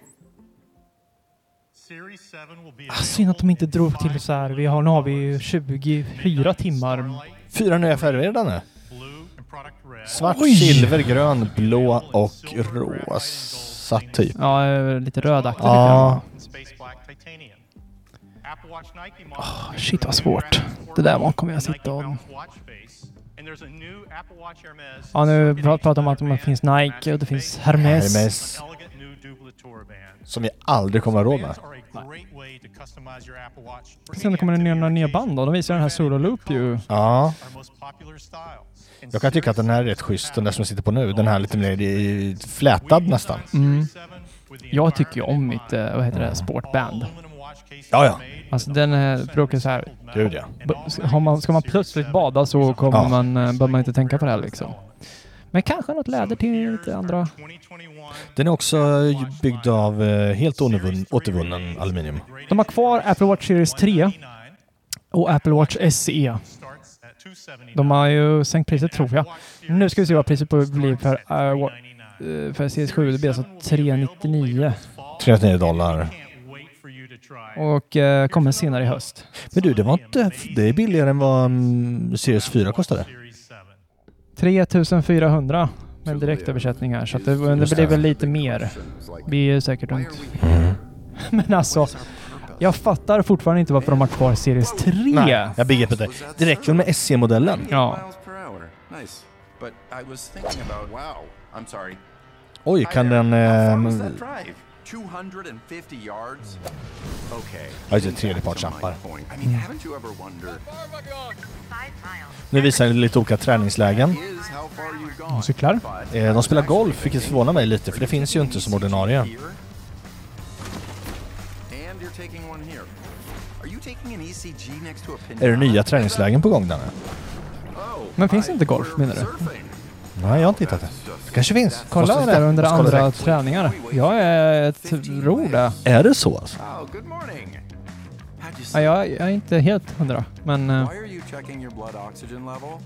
Series 7 will be
Ah, synd att de inte drog till så här. Vi har, nu har vi ju 24 timmar.
Fyra nya färger redan nu.
blue and product red.
Svart,
Oj!
silver, grön, blå och rosa typ.
Ja, eh, lite rödaktigt.
Ja.
And space black titanium. Apple Watch Nike model
Ah, Shit vad svårt. Det där var kommer jag sitta och...
Bounce watch face. And there's a new Apple Watch Hermes.
Ja, nu pra- pratar de om att det finns Nike och det finns Hermes.
Hermes,
Elegant new dublator band.
som vi aldrig kommer att ha råd med.
Bands are a great way to customize your Apple Watch. for
Sen
any
kommer det nya, några nya
activity
band då. De visar den här Solo Loop ju.
Ja,
our most popular styles. And
jag kan tycka att den här är rätt schysst, den där som jag sitter på nu. Den här lite mer i- flätad nästan.
Series 7 with the
Mm. Jag tycker ju om mitt, eh, vad heter det, sportband.
aluminum watch case
Ja, ja.
Alltså den eh, brukar så här...
Gud ja.
B- Har man, ska man plötsligt bada så kommer
Ja.
man, eh, behöver man inte tänka på det här liksom. Men kanske något läder till lite andra...
2021
Den är också byggd av eh, helt återvun- återvunnen aluminium.
De har kvar Apple Watch Series 3 och Apple Watch SE.
starts at 279.
De har ju sänkt priset tror jag. Nu ska vi se vad priset på- blir för, eh, wa- eh, för Series 7. Det blir alltså 399
399 dollar.
Can't wait for you to try.
och eh, kommer senare i höst.
Men du, det var inte... Det är billigare än vad mm, Series 4 kostade.
Series 7.
3400 med en direktöversättning här, så att det, det blir väl lite mer. Det blir säkert runt. Men alltså, jag fattar fortfarande inte varför de har kvar Series 3.
Nej, jag begriper inte. Det räcker väl med SE-modellen?
Ja.
miles per hour. Nice. But I was thinking about. Wow. I'm sorry.
Oj, kan den...
How far was
Eh,
that drive? 250 yards. Okay.
Ja, just det, tredjepartsappar.
I
Mm.
mean, haven't you ever wondered?
nu visar den lite olika träningslägen.
Is how far you've gone.
De cyklar.
Eh, de spelar golf, vilket förvånar mig lite, för det finns ju inte som ordinarie.
Here. And you're taking one here. Are you taking an ECG next to a pin?
Är det nya träningslägen på gång där nu?
Men finns det inte golf menar du?
Nej, jag har inte hittat det. Det kanske finns.
Kolla
Måste
där under
Måste kolla
andra
direkt.
träningar. Jag är- tror det.
Är det så alltså?
Oh, good morning. How'd you
Ah, Ja,
sleep?
jag, jag är inte helt hundra, men... eh,
Why are you checking your blood oxygen level?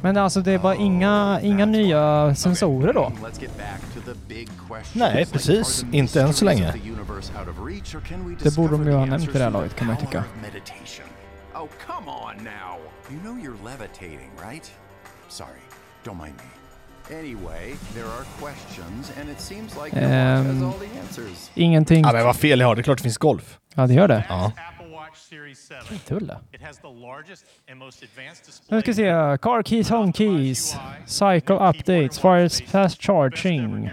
Men alltså det är bara inga, inga nya sensorer då.
Let's get back to the big questions.
Nej,
Like,
precis.
are the
Inte än så
mysteries
länge.
of the universe out of reach, or can we
Det borde de
discover
ju
the
ha nämnt i det här
answers
laget, kan man
through the
tycka.
power of meditation? Oh, come on now. You know you're levitating, right? Sorry, don't mind me. Anyway, there are questions and it seems like the watch has
Ehm,
all the answers.
ingenting.
Ja, men vad fel jag har. Det är klart det finns golf.
Ja, det gör det.
Ja.
Tulla. Nu ska vi se. Car keys, home keys. Cycle updates, fires fast charging.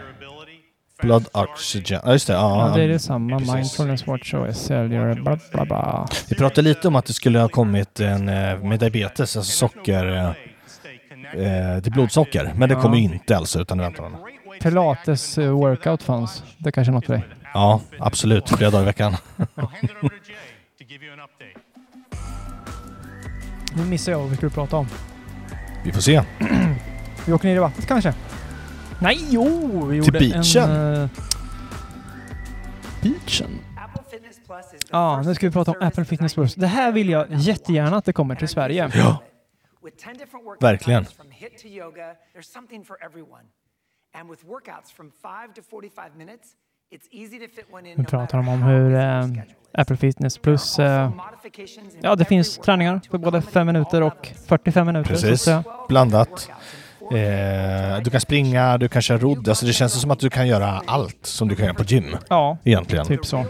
Blood oxygen. Ja, just det. Ja,
Ja, det är det samma. Mindfulness Watch OS säljer bla bla bla.
Vi pratade lite om att det skulle ha kommit en eh, med diabetes, alltså socker... eh, eh, Till blodsocker. Men det
Ja.
kommer ju inte alltså, utan det väntar man.
Pilates eh, workout fanns. Det kanske är något för dig.
Ja, absolut. Flera dagar i veckan.
Nu missade jag vad vi skulle prata om.
Vi får se.
Vi åker ner i vattnet kanske? Nej, jo! Vi
Till
gjorde
beachen.
En, eh, beachen? Ja, nu ska vi prata om Apple Fitness Plus. Det här vill jag jättegärna att det kommer till Sverige.
Ja.
With 10 different workout
Verkligen.
types from hit to yoga, there's something for everyone. And with workouts from 5 to 45 minutes, it's easy to fit one in
Nu
no matter
pratar de om hur eh, Apple Fitness Plus... Eh, ja, det finns träningar på både 5 minuter och 45 minuter. så att
Precis.
säga.
Blandat. Eh, du kan springa, du kan köra rodd. Alltså det känns som att du kan göra allt som du kan göra på gym.
Ja,
Egentligen.
typ så.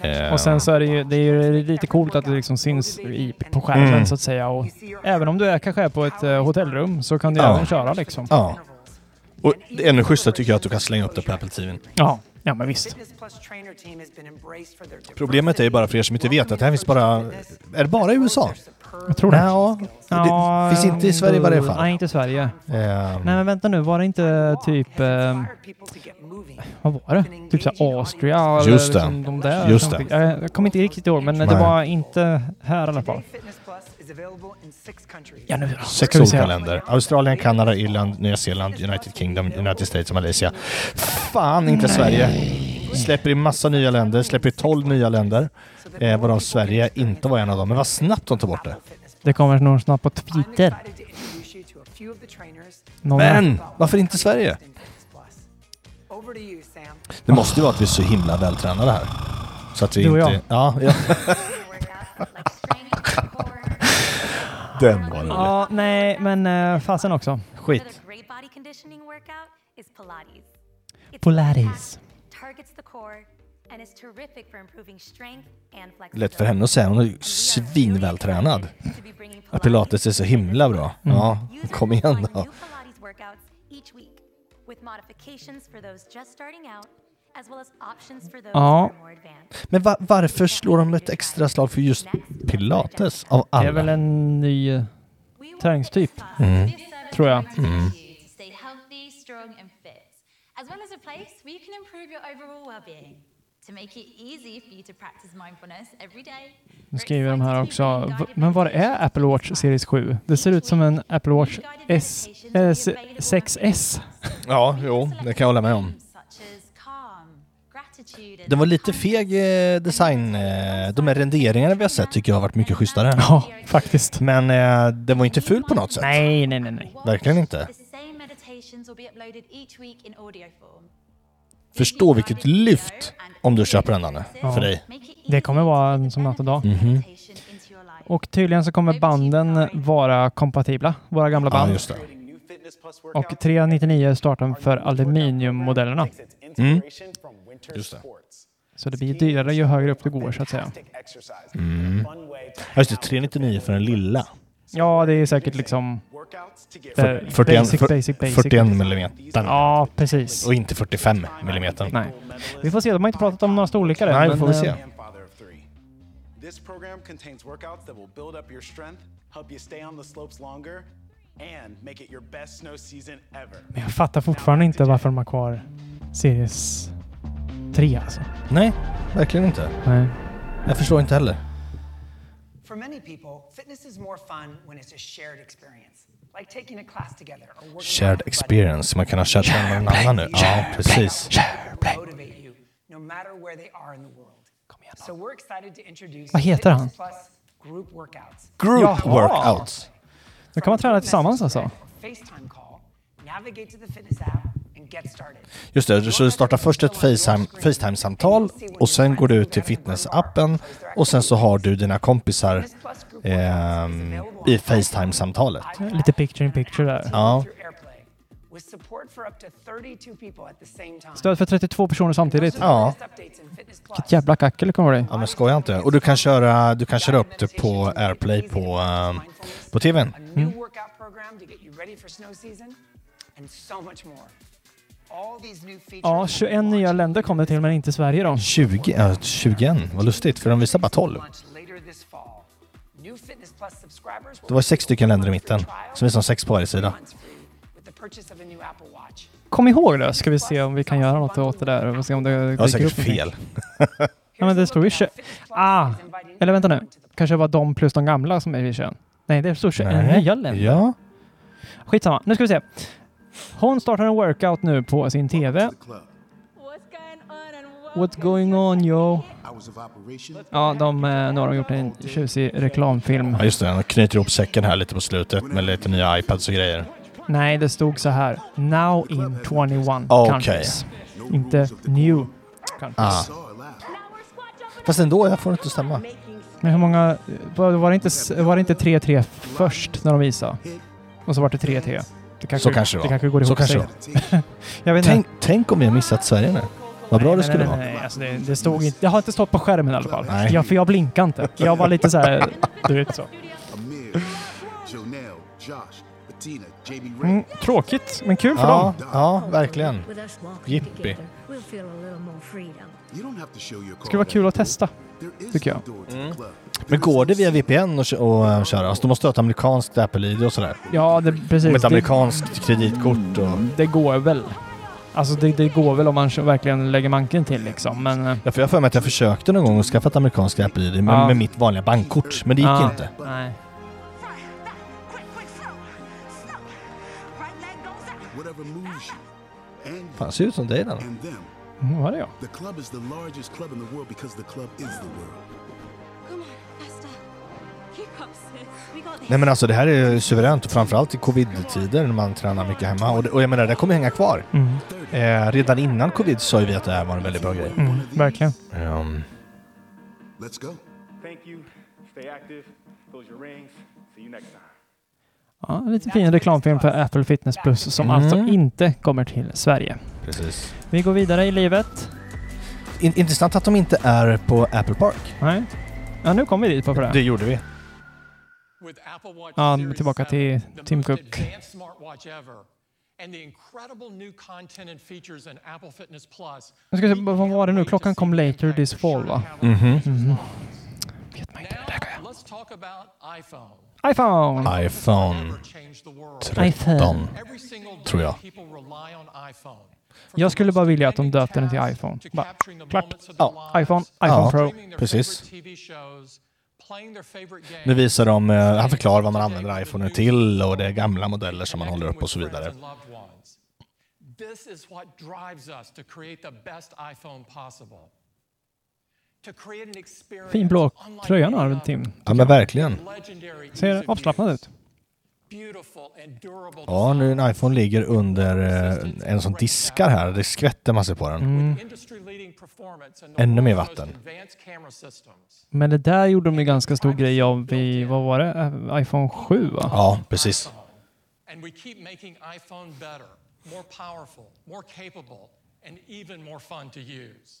Eh,
Och sen så är det ju, det är ju lite coolt att det liksom syns i, på skärmen
Mm.
så att säga. Och även om du är, kanske är på ett eh, hotellrum så kan du
Ja.
även köra liksom.
Ja. Och det ännu schysstare tycker jag att du kan slänga upp det på Apple TV.
Ja, ja men visst.
Fitness Plus trainer team has been embraced for their
Problemet är ju bara för er som inte vet att det här finns bara... Är det bara i USA?
Jag tror det.
Ja,
Ja,
det finns inte i Sverige i varje fall.
Nej, inte i Sverige.
Ehm.
Nej, men vänta nu. Var det inte typ... Eh, vad var det? Typ såhär Austria? eller
Just det.
liksom de där,
Just
någonting.
det.
Jag, jag kommer inte riktigt ihåg, men det
Nej.
var inte här i alla fall. Ja, nu då.
Sex
Ska vi se.
olika länder. Australien, Kanada, Irland, Nya Zeeland, United Kingdom, United States och Malaysia. Fan inte Sverige! Släpper i massa nya länder, släpper i 12 nya länder. Eh, varav Sverige inte var en av dem. Men vad snabbt de tar bort det.
Det kommer nog snart på Twitter. Någon
Men varför inte Sverige? Det måste ju vara att vi är så himla vältränade här. Så att vi
Du och
inte... Ja, ja. Den var rolig.
Ja, nej, men eh, fasen också.
Skit.
Great body conditioning workout is Pilates. It's
Pilates.
targets the core and is terrific for improving strength and flexibility.
Lätt för henne att säga, hon är ju svinvältränad. Att pilates är så himla bra.
Mm.
Ja, kom igen då.
Pilates workouts each week with modifications for those just starting out as well as options for those
Ja.
who are more advanced.
Men va- varför slår de ett extra slag för just pilates av
Det är
alla?
väl en ny eh, träningstyp,
Mm.
Mm-hmm. tror jag.
To stay healthy, strong and fit, as well as a place where you can improve your overall well-being. To make it easy for you to practice mindfulness every day.
Nu skriver de här också. v- Men vad är Apple Watch Series 7? Det ser ut som en Apple Watch S, eh, s- 6S.
Ja, jo, det kan jag hålla med om. Den var lite feg eh, design. eh, De här renderingarna vi har sett tycker jag har varit mycket schysstare.
Ja, faktiskt.
Men eh, den var inte ful på något sätt.
Nej, nej, nej, nej.
Verkligen inte.
The same meditations will be uploaded each week in audio form.
Förstå vilket lyft om du köper den Danne, för dig.
Det kommer vara en som natt och dag.
Mhm.
Och tydligen så kommer banden vara kompatibla, våra gamla
Ja,
band.
just det. Oh,
Och 399 är starten för aluminiummodellerna.
Mm. Just det.
Så det blir dyrare ju högre upp du går så att säga.
Mm. Ja, Just det, 399 för den
Eh,
lilla.
Ja, det är säkert liksom...
För-
eh,
41,
basic, basic, basic.
41 millimeter.
Ja, precis.
Och inte 45 millimeter.
Nej. Vi får se, de har inte pratat om några storlekar än.
Nej,
men,
får vi
eh,
se.
Grandfather of three. This program contains workouts that will build up your strength, help you stay on the slopes longer, and make it your best snow season ever.
Men jag fattar fortfarande inte varför de har kvar Series 3 alltså.
Nej, verkligen inte.
Nej.
Jag förstår inte heller.
For many people, fitness is more fun when it's a shared experience, like taking a class together or working
Shared experience. Man kan ha kört med någon annan nu. Ja, precis.
to motivate you, no matter where they are in the world. So we're excited to introduce
Vad heter han?
Fitness Plus group workouts.
Group
Jaha.
workouts.
Då kan man träna tillsammans alltså.
FaceTime call, navigate to the fitness app, and get started.
Just det, så du startar först ett Facetime- Facetime-samtal och sen går du ut till fitnessappen och sen så har du dina kompisar ehm, i Facetime-samtalet.
uh, Lite picture in picture där.
Ja.
with support for up to 32 people at the same time.
Stöd för 32 personer samtidigt.
Ja.
Vilket jävla kackel det kommer bli.
Ja men skoja inte. Och du kan köra, du kan köra upp det på AirPlay på, ehm, på TVn.
A
Hmm.
new workout program to get you ready for snow season and so much more. All these new features
Ja, 21 nya länder kom det till, men inte Sverige då.
20, ja, 21, eh, vad lustigt för de visar bara 12.
later this fall. New Fitness Plus subscribers
Det var sex stycken länder i mitten, som visar sex på varje sida.
with the purchase of a new Apple Watch.
Kom ihåg det, ska vi se om vi kan göra något åt det där. och se om det
Jag har säkert
någonting.
fel.
Ja, men det stod ju 21. Ah, eller vänta nu. Kanske det var de plus de gamla som är i 21. Nej, det stod 21
Nej.
nya länder.
Ja.
Skitsamma, nu ska vi se. Hon startar en workout nu på sin TV. What's going on yo? Ja, de, eh, nu har de gjort en tjusig reklamfilm.
Ja just det, de knyter ihop säcken här lite på slutet med lite nya iPads och grejer.
Nej, det stod så här. Now in 21
Okej.
countries. Inte new
Ah.
countries.
Fast ändå, jag får det inte att stämma.
Men hur många... Var, var det inte s- var det inte 3-3 först när de visade? Och så var det 3-3. Det
Så kanske det
det
var.
kanske går
Så
ihop
kanske
sig. jag vet
Tänk,
inte.
tänk om vi har missat Sverige nu. Vad bra det
Nej,
skulle
nej,
vara.
nej, nej, alltså det, det stod inte... Det har inte stått på skärmen i alla fall. Ja, för jag blinkade inte. Jag var lite så här... Du vet så.
Amir, Jonelle, Josh, Bettina, Jamie Ray.
Mm,
Hmm?
tråkigt, men kul för
Ja,
dem.
ja verkligen.
With us walking
Jippi.
together, we'll feel a little more freedom. You don't have to show your
Det skulle vara kul att testa, tycker jag.
Mm.
Men går det via VPN och, kö- och eh, köra? Alltså, du måste ha ett amerikanskt Apple-ID och sådär.
Ja, det,
Med
precis.
ett
Det,
amerikanskt kreditkort och...
det går väl. Alltså det, det går väl om man verkligen lägger manken till liksom, men... eh,
Ja, för jag har för mig att jag försökte någon gång att skaffa ett amerikanskt Apple-ID men
Ja.
med mitt vanliga bankkort. Men det gick
ja,
inte.
Nej.
Whatever moves you. And
Fan, ser ut som dig den.
and them.
Mm, var det jag?
The club is the largest club in the world because the club is the world.
Nej men alltså det här är suveränt och framförallt i covid-tider när man tränar mycket hemma. Och, det, och jag menar, det kommer hänga kvar.
Mm.
Eh, redan innan covid sa ju vi att det här var en väldigt bra grej.
Mm, verkligen.
Ehm,
Let's go.
Thank you. Stay active. Those are your rings. See you next time.
Ja, en liten fin reklamfilm för Apple Fitness Plus som
Mm.
alltså inte kommer till Sverige.
precis.
Vi går vidare i livet.
In, intressant att de inte är på Apple Park.
Nej. Ja, nu kommer vi dit på det.
Det gjorde vi.
With Apple Watch
Ja,
Series
tillbaka
7,
till
the
Tim
most
Cook.
advanced smartwatch ever, and the incredible new content and features in Apple Fitness Plus.
Nu ska vi se, vad var det nu? Klockan kom later this fall, va?
Mhm.
Mhm.
Now, let's talk about iPhone.
iPhone!
iPhone 13, tror jag.
Jag skulle bara vilja att de döpte den till iPhone. Bara, klart. Ja, iPhone, iPhone
Ja,
Pro.
precis.
Playing their favorite games
Nu visar de, eh, han förklarar vad man använder iPhone till och det är gamla modeller som man håller upp och så vidare.
and loved ones. This is what drives us to create the best iPhone possible. To create an experience
Fin blå
unlike
tröja han
any
har,
other.
Tim.
Ja men verkligen.
Legendary ease
Ser
of
avslappnad ut.
beautiful and durable
Ja, nu en iPhone ligger under eh, en som diskar här. Det skvätter massor på
Mm.
den.
industry-leading performance and the
Ännu mer
world's most
vatten.
advanced camera systems.
Men det där gjorde de ju ganska stor grej av i, vad var det? Eh, iPhone 7, va?
Ja, precis.
And we keep making iPhone better, more powerful, more capable, and even more fun to use.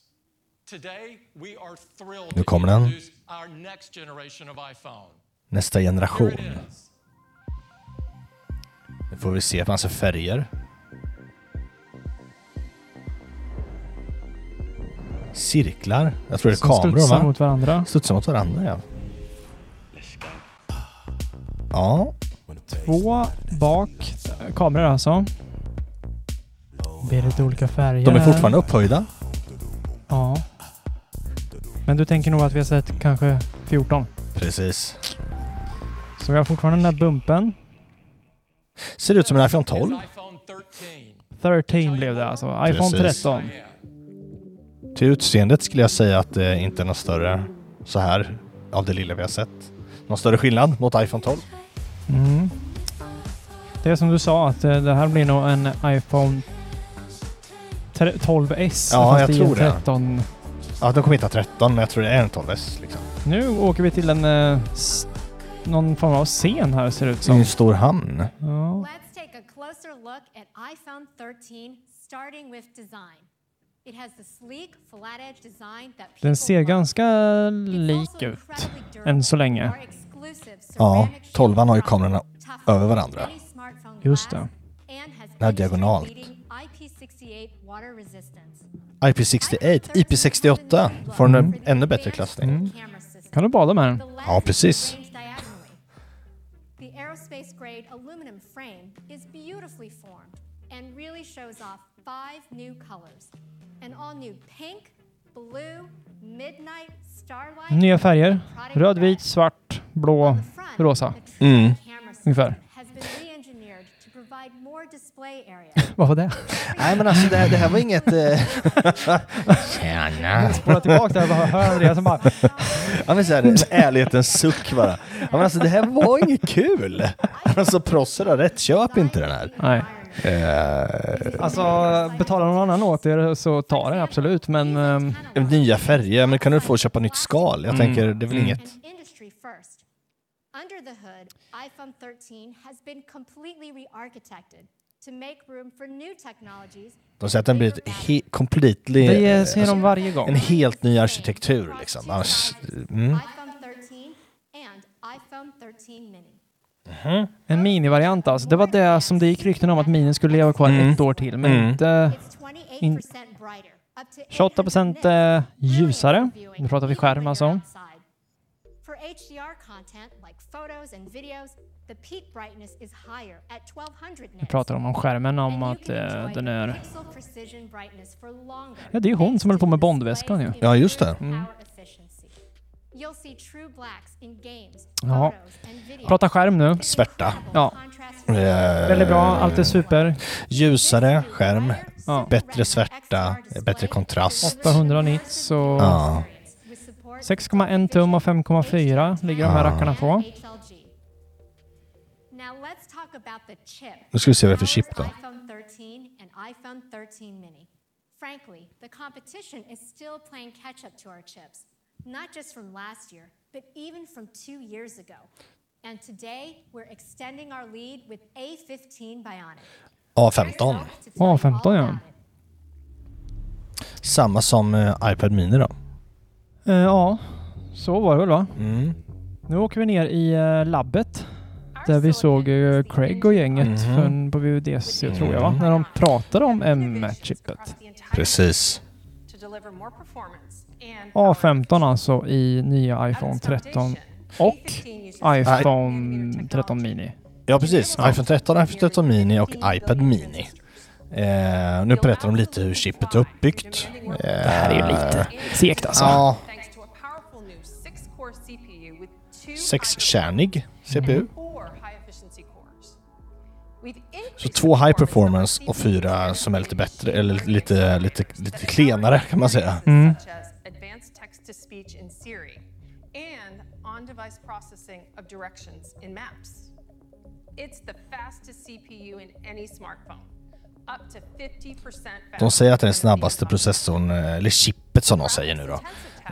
Today, we are thrilled
Nu
to
kommer den.
introduce our next generation of iPhone.
Nästa generation.
Here it is.
Nu får vi se massa färger. Cirklar. Jag tror det är
Som
kameror
studsar
va?
mot varandra.
Studsar mot varandra ja. Ja,
Två bak. eh, Kameror alltså. Det är lite olika färger.
de är
här.
fortfarande upphöjda.
Ja. Men du tänker nog att vi har sett kanske 14.
Precis.
Så vi har fortfarande den där bumpen.
Ser ut som en iPhone 12.
13 blev det alltså. iPhone
Precis.
13.
Till utseendet skulle jag säga att det inte är något större så här av det lilla vi har sett. Någon större skillnad mot iPhone 12?
Mm. Det är som du sa att eh, det här blir nog en iPhone tre- 12S.
Ja,
fast
jag
i en
tror det.
13.
Ja, de kommer inte ha 13 men jag tror det är en 12S. Liksom.
Nu åker vi till en... eh, s- Någon form av scen här ser det ut
I
som.
en stor hamn.
Ja.
Let's take a closer
closer look at iPhone 13, starting with design. It has the sleek, flat edge design that
Den ser ganska lik ut än så länge.
Ja, tolvan har ju kamerorna över varandra.
Just det.
Det här diagonalt.
IP68 water resistance.
IP68, IP68 får en ännu bättre klassning.
Mm. Kan du bada med den?
Ja, precis.
The aerospace grade aluminum frame is beautifully formed and really shows off five new colors an all new pink, blue, midnight, starlight,
Nya färger. Röd, vit, svart, blå, rosa.
Mm.
Ungefär.
has been re engineered to provide more display area.
Vad var det?
Nej men alltså det här, det här var inget... Eh... Tjena!
Spola tillbaka där och bara hör Andreas som bara...
Ja men såhär, en ärlighetens suck bara. Ja men alltså det här var inget kul! Alltså prosser har rätt, köp inte den här.
Nej.
Eh,
Alltså, betalar någon annan åt er så ta den absolut, men... ehm,
nya färger, men kan du få köpa nytt skal? Jag
Mm.
tänker, det är väl
Mm.
inget...
Industry first. Under the hood, iPhone 13 has been completely re architected to make room for new technologies
De säger att den blir ett he- completely... alltså,
Det ser de varje gång.
En helt ny arkitektur liksom. Annars, mm.
iPhone 13 and iPhone 13 mini.
En minivariant alltså. Det var det som det gick rykten om att minin skulle leva kvar
Mm.
ett år till, men
Mm.
inte...
It's
In,
28% brighter, up to
28 procent eh, ljusare. Nu pratar vi skärm alltså.
outside. For HDR content like photos and videos, the peak brightness is higher at 1200
Vi
nits.
pratar om, om skärmen, om att eh, den är...
Pixel precision brightness for longer.
Ja, det är ju hon som håller på med Bondväskan ju.
Ja, just det.
Mm.
You'll see true blacks in games.
Ja. Prata skärm nu.
Svärta. Eh,
Ja. Väldigt bra, allt är super.
Ljusare skärm,
Ja.
bättre svärta, bättre kontrast.
800 nits och
Ja.
6,1 tum och 5,4 ligger de här
Ja.
rackarna på.
HLG. Now let's talk about the chip.
Nu ska vi se vad det är för chip då.
iPhone 13 and iPhone 13 mini. Frankly, the competition is still playing catch up to our chips, not just from last year, but even from two years ago. And today, we're extending our lead with A15 Bionic.
A15.
A15 ja.
Samma som eh, iPad Mini då.
Eh, ja, så var det väl va?
Mm.
Nu åker vi ner i eh, labbet där vi såg eh, Craig och gänget
Mhm.
för en- på VVDC tror jag va?
Mhm.
När de pratade om M-chippet.
Precis.
to deliver more performance and
A15 alltså i nya iPhone 13 och iPhone 13 mini.
Ja, precis. iPhone 13, iPhone 13 Mini och iPad Mini. Eh, nu berättar de lite hur chippet är uppbyggt. Eh, det
här är ju lite segt, alltså.
Ja,
thanks to a powerful new six-core CPU with two
sexkärnig CPU.
Mm.
and four high-efficiency cores. We've
Så två high performance och fyra som är lite bättre, eller lite, lite, lite klenare kan man säga.
Mm.
such as advanced text-to-speech in Siri and on-device processing of directions in Maps. It's the fastest CPU in any smartphone, up to 50% faster.
De säger att det är den snabbaste processorn, eh, eller chippet som de säger nu då,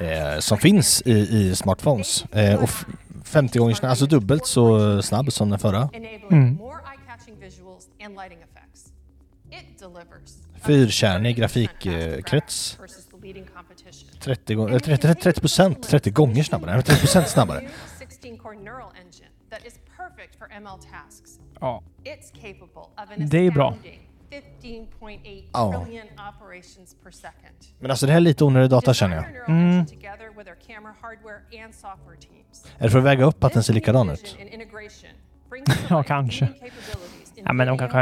eh, som finns i, i smartphones. Eh, och f- 50 gånger snabb, alltså dubbelt så snabb som den förra.
enabling
Mm.
more eye-catching visuals and lighting effects. It delivers
Fyrkärnig grafikkrets.
versus the leading competition.
30 gånger, 30, 30 procent, 30 gånger snabbare, Nej, 30 procent snabbare.
16-core neural engine that is perfect for ML tasks.
Ja.
It's capable of
Det är
an
bra.
astounding 15.8
Ja.
trillion operations per second.
Men alltså det här är lite onödig data känner jag. Mm.
Neural engine together with our camera hardware and software teams.
Är det för att väga upp att den ser likadan ut?
And integration
ja, kanske. Ja, men de kanske...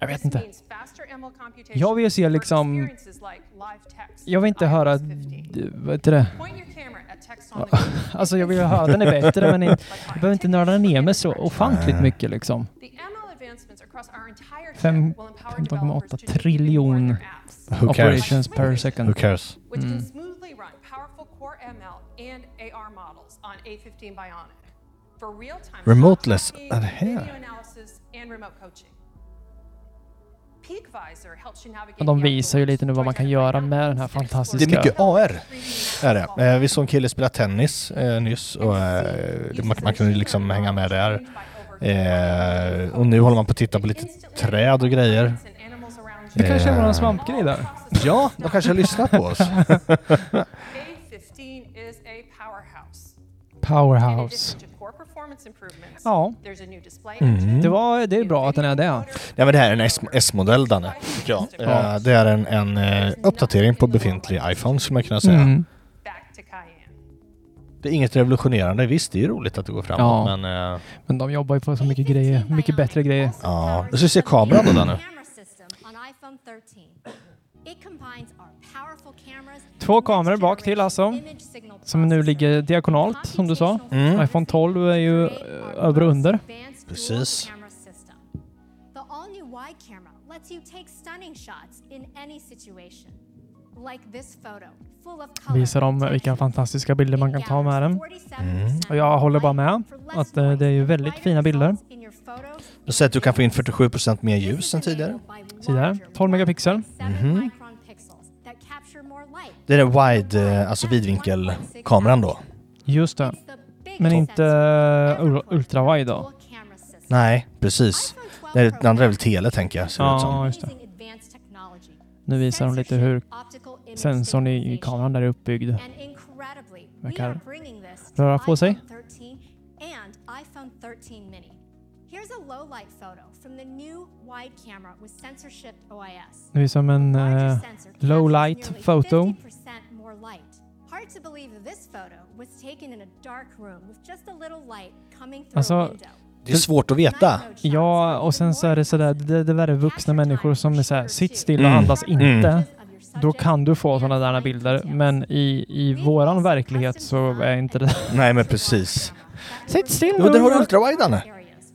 Jag vet inte.
means faster ML computation
Jag vill se liksom...
experiences like live text.
Jag vill inte höra... d- Vad heter det?
Point your camera at text on
Ja,
the go.
Alltså jag vill höra den är bättre men in- jag behöver inte nörda ner mig så ofantligt mycket liksom.
The ML advancements across our entire chip
Fem-
will empower developers
15,8 triljon
Who cares?
operations per second.
Who cares?
which
Mm.
can smoothly run powerful core ML and AR models on A15 Bionic for real-time
Remoteless.
shot
uh,
Är det
tracking,
här?
video analysis and remote coaching. Peakvisor helps you navigate
Och de
the
visar ju lite nu vad man kan göra med den här
Det är
fantastiska...
mycket AR. Är det. Eh, vi såg en kille spela tennis eh, nyss och eh, det- man, man kunde liksom hänga liksom med där. Eh, och nu håller man på att titta på lite träd och grejer.
Det kanske är
Eh,
våran svampgrej där.
Ja, de kanske lyssnar på oss.
A15 is a powerhouse.
Powerhouse. Ja.
Mm.
Det, var, det är bra att den är det.
Ja, men det här är en S- S-modell, Danne. tycker jag.
Ja.
Eh, det är en, en eh, uppdatering på befintlig iPhone, skulle man kunna säga.
Mm.
Det är inget revolutionerande. Visst, det är ju roligt att det går framåt,
Ja.
men... Eh,
Men de jobbar ju på så mycket grejer, mycket bättre grejer.
ja. Du ska se kameran då, Danne.
on iPhone 13. It combines our powerful cameras
Två kameror bak till alltså, som nu ligger diagonalt som du sa.
Mm.
iPhone 12 är ju eh, över och under.
Precis.
camera system. The all-new wide camera lets you take stunning shots in any situation. Like this photo, full of color.
Visar dem vilka fantastiska bilder man kan ta med den. Och jag håller bara med att eh, det är ju väldigt fina bilder.
Du ser att du kan få in 47 mer ljus än tidigare.
Se där, 12 megapixel.
Mhm. Det är den wide, eh, alltså vidvinkelkameran då.
Just det. Men inte eh, ul- ultrawide då?
Nej, precis. Det är- Den andra är väl tele, tänker jag. Ser det ut som.
Ja, just det. Nu visar de lite hur sensorn i i kameran där är uppbyggd. Verkar röra på sig.
13 and iPhone 13 mini. Here's a low light photo from the new wide camera with sensor shift OIS.
Nu visar de en eh, low light photo.
50% more light. Hard to believe that this photo was taken in a dark room with just a little light coming through a
Alltså,
window.
Det är svårt att veta.
Ja, och sen så är det sådär, det, det där är vuxna människor som är såhär, sitt stilla,
Mm.
andas inte.
Mm.
Då kan du få sådana där bilder, men i, i våran verklighet så är inte det...
Nej, men precis.
Sitt still
Jo, där har du ultrawide, Danne.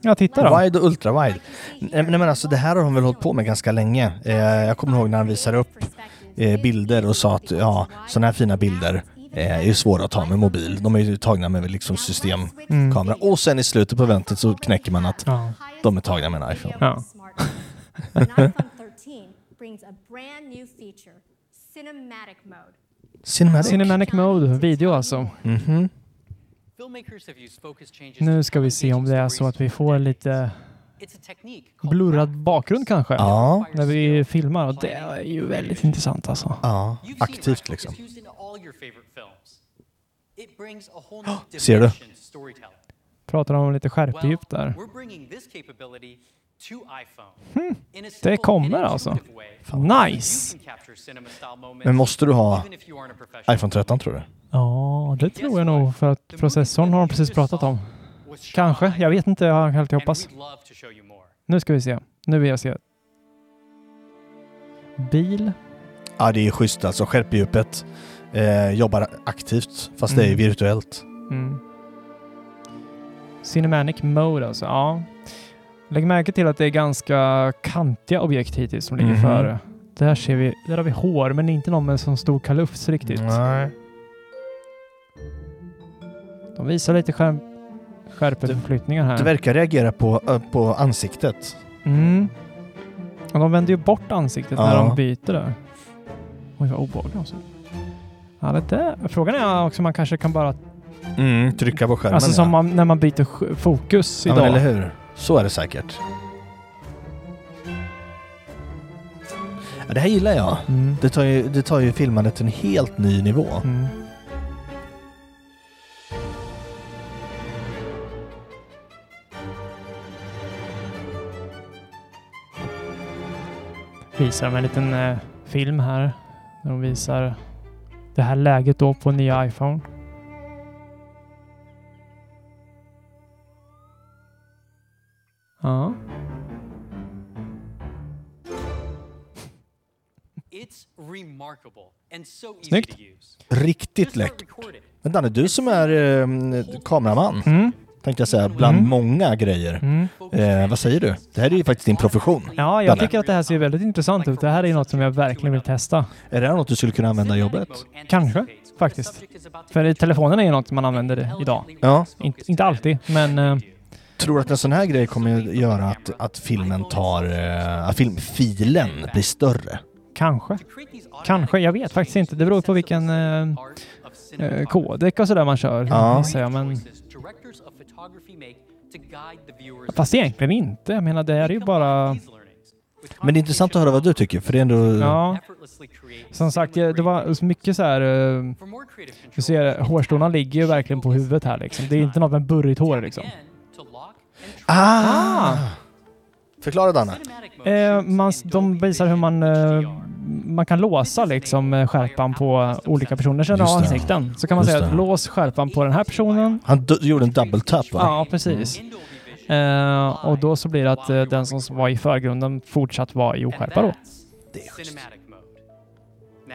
Ja, titta då.
Wide och ultrawide. Nej, men alltså, det här har de väl hållit på med ganska länge. Eh, jag kommer ihåg när han visade upp eh, bilder och sa att ja, sådana här fina bilder eh, är ju svåra att ta med mobil. De är ju tagna med liksom systemkamera. Och sen i slutet på eventet så knäcker man att
Mm. Ja.
de är tagna med en iPhone.
Ja.
An iPhone 13 brings a brand new feature, cinematic mode. Mm.
Cinematic.
Cinematic mode, video alltså.
Mhm.
Nu ska vi se om det är så att vi får lite blurrad bakgrund kanske,
Ja.
när vi filmar. Och det är ju väldigt intressant alltså.
Ja, aktivt liksom.
It's used in all your favorite films. It brings a whole new
ser du?
dimension to storytelling.
Pratar om lite skärpedjup där.
We're bringing this capability to iPhone. In a
Hmm, Det
simple and
kommer alltså.
intuitive way,
Nice!
you can capture cinema-style moments,
Men måste du ha
even if you aren't a professional.
iPhone 13 tror du?
Ja, det tror jag nog för att processorn har de precis pratat om. Kanske, jag vet inte, jag har alltid hoppats. Nu ska vi se. Nu vill jag se. Bil.
Ja, det är ju schysst alltså. Skärper djupet. Eh, jobbar aktivt, fast det är ju
Mm.
virtuellt.
Mm. Cinematic mode alltså, ja. Lägg märke till att det är ganska kantiga objekt hittills som ligger
Mhm.
före. Där ser vi, där har vi hår, men inte någon med en sån stor kalufs riktigt.
Nej.
De visar lite skärm, skärpeförflyttningar här.
Det verkar reagera på, ö, på ansiktet.
Mm. Och de vänder ju bort ansiktet när
Ja.
de byter där. Oj, vad obehagligt alltså. Ja, det där. Frågan är också om man kanske kan bara...
Mm, trycka på skärmen
alltså
ja.
som man, när man byter sk- fokus
ja,
idag.
men eller hur? Så är det säkert. Ja, det här gillar jag.
Mm.
Det, tar ju, det tar ju filmandet till en helt ny nivå.
Mm. Visar de en liten eh, film här. Där de visar det här läget då på nya iPhone. Ja.
It's remarkable and so easy
Snyggt.
to use.
Riktigt läckert. Men Danne, du som är eh, kameraman, tänkte jag säga, bland
Mm.
många grejer. Eh, vad säger du? Det här är ju faktiskt din profession.
Ja, jag
Danne.
tycker att det här ser väldigt intressant ut. Det här är något som jag verkligen vill testa.
Är det här något du skulle kunna använda i jobbet?
Kanske, faktiskt. För i telefonen är ju något man använder idag.
Ja.
Inte, inte alltid, men... eh,
Tror du att en sån här grej kommer att göra att, att filmen tar... eh, Att filmfilen blir större?
Kanske. Kanske. Jag vet faktiskt inte. Det beror på vilken eh, eh, kodek och sådär man kör.
Ja.
gissar jag, Men
Directors of photography make to guide the viewers.
Fast egentligen inte. Jag menar, det här är ju
Mm.
bara...
Men det är intressant att höra vad du tycker, för det är ändå...
Ja. Som sagt, jag- det var så mycket så här... eh, Du ser, hårstråna ligger ju verkligen på huvudet här liksom. Det är inte något med burrigt hår liksom.
Ah! Förklara Danne.
Eh, man, de visar hur man, eh, man kan låsa liksom, eh, skärpan på olika personers ansikten. Så kan man
Just
säga att
det.
lås skärpan på den här personen.
Han d- gjorde en double tap va?
Ja, precis. Eh, och då så blir det att eh, den som var i förgrunden fortsatt var i oskärpa då.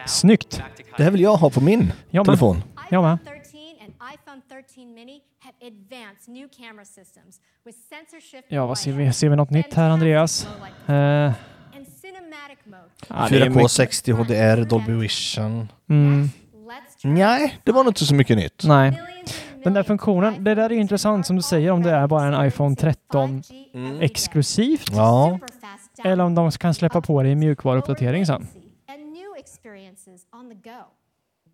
Snyggt!
Det här vill jag ha på min
Jag med.
telefon.
Jag med.
13 and iPhone 13 mini have advanced new camera systems with sensor shift
Ja, vad ser vi? Ser vi något nytt här, Andreas? Ah, Eh,
and cinematic mode.
ja, det är
4K
mycket-
60 HDR, Dolby Vision.
Mm.
Nej, det var nog inte så mycket nytt.
Nej. Den där funktionen, det där är ju intressant som du säger om det är bara en iPhone 13 Mm. exklusivt.
Ja.
Eller om de kan släppa på det i mjukvaruuppdatering sen.
and new experiences on the go.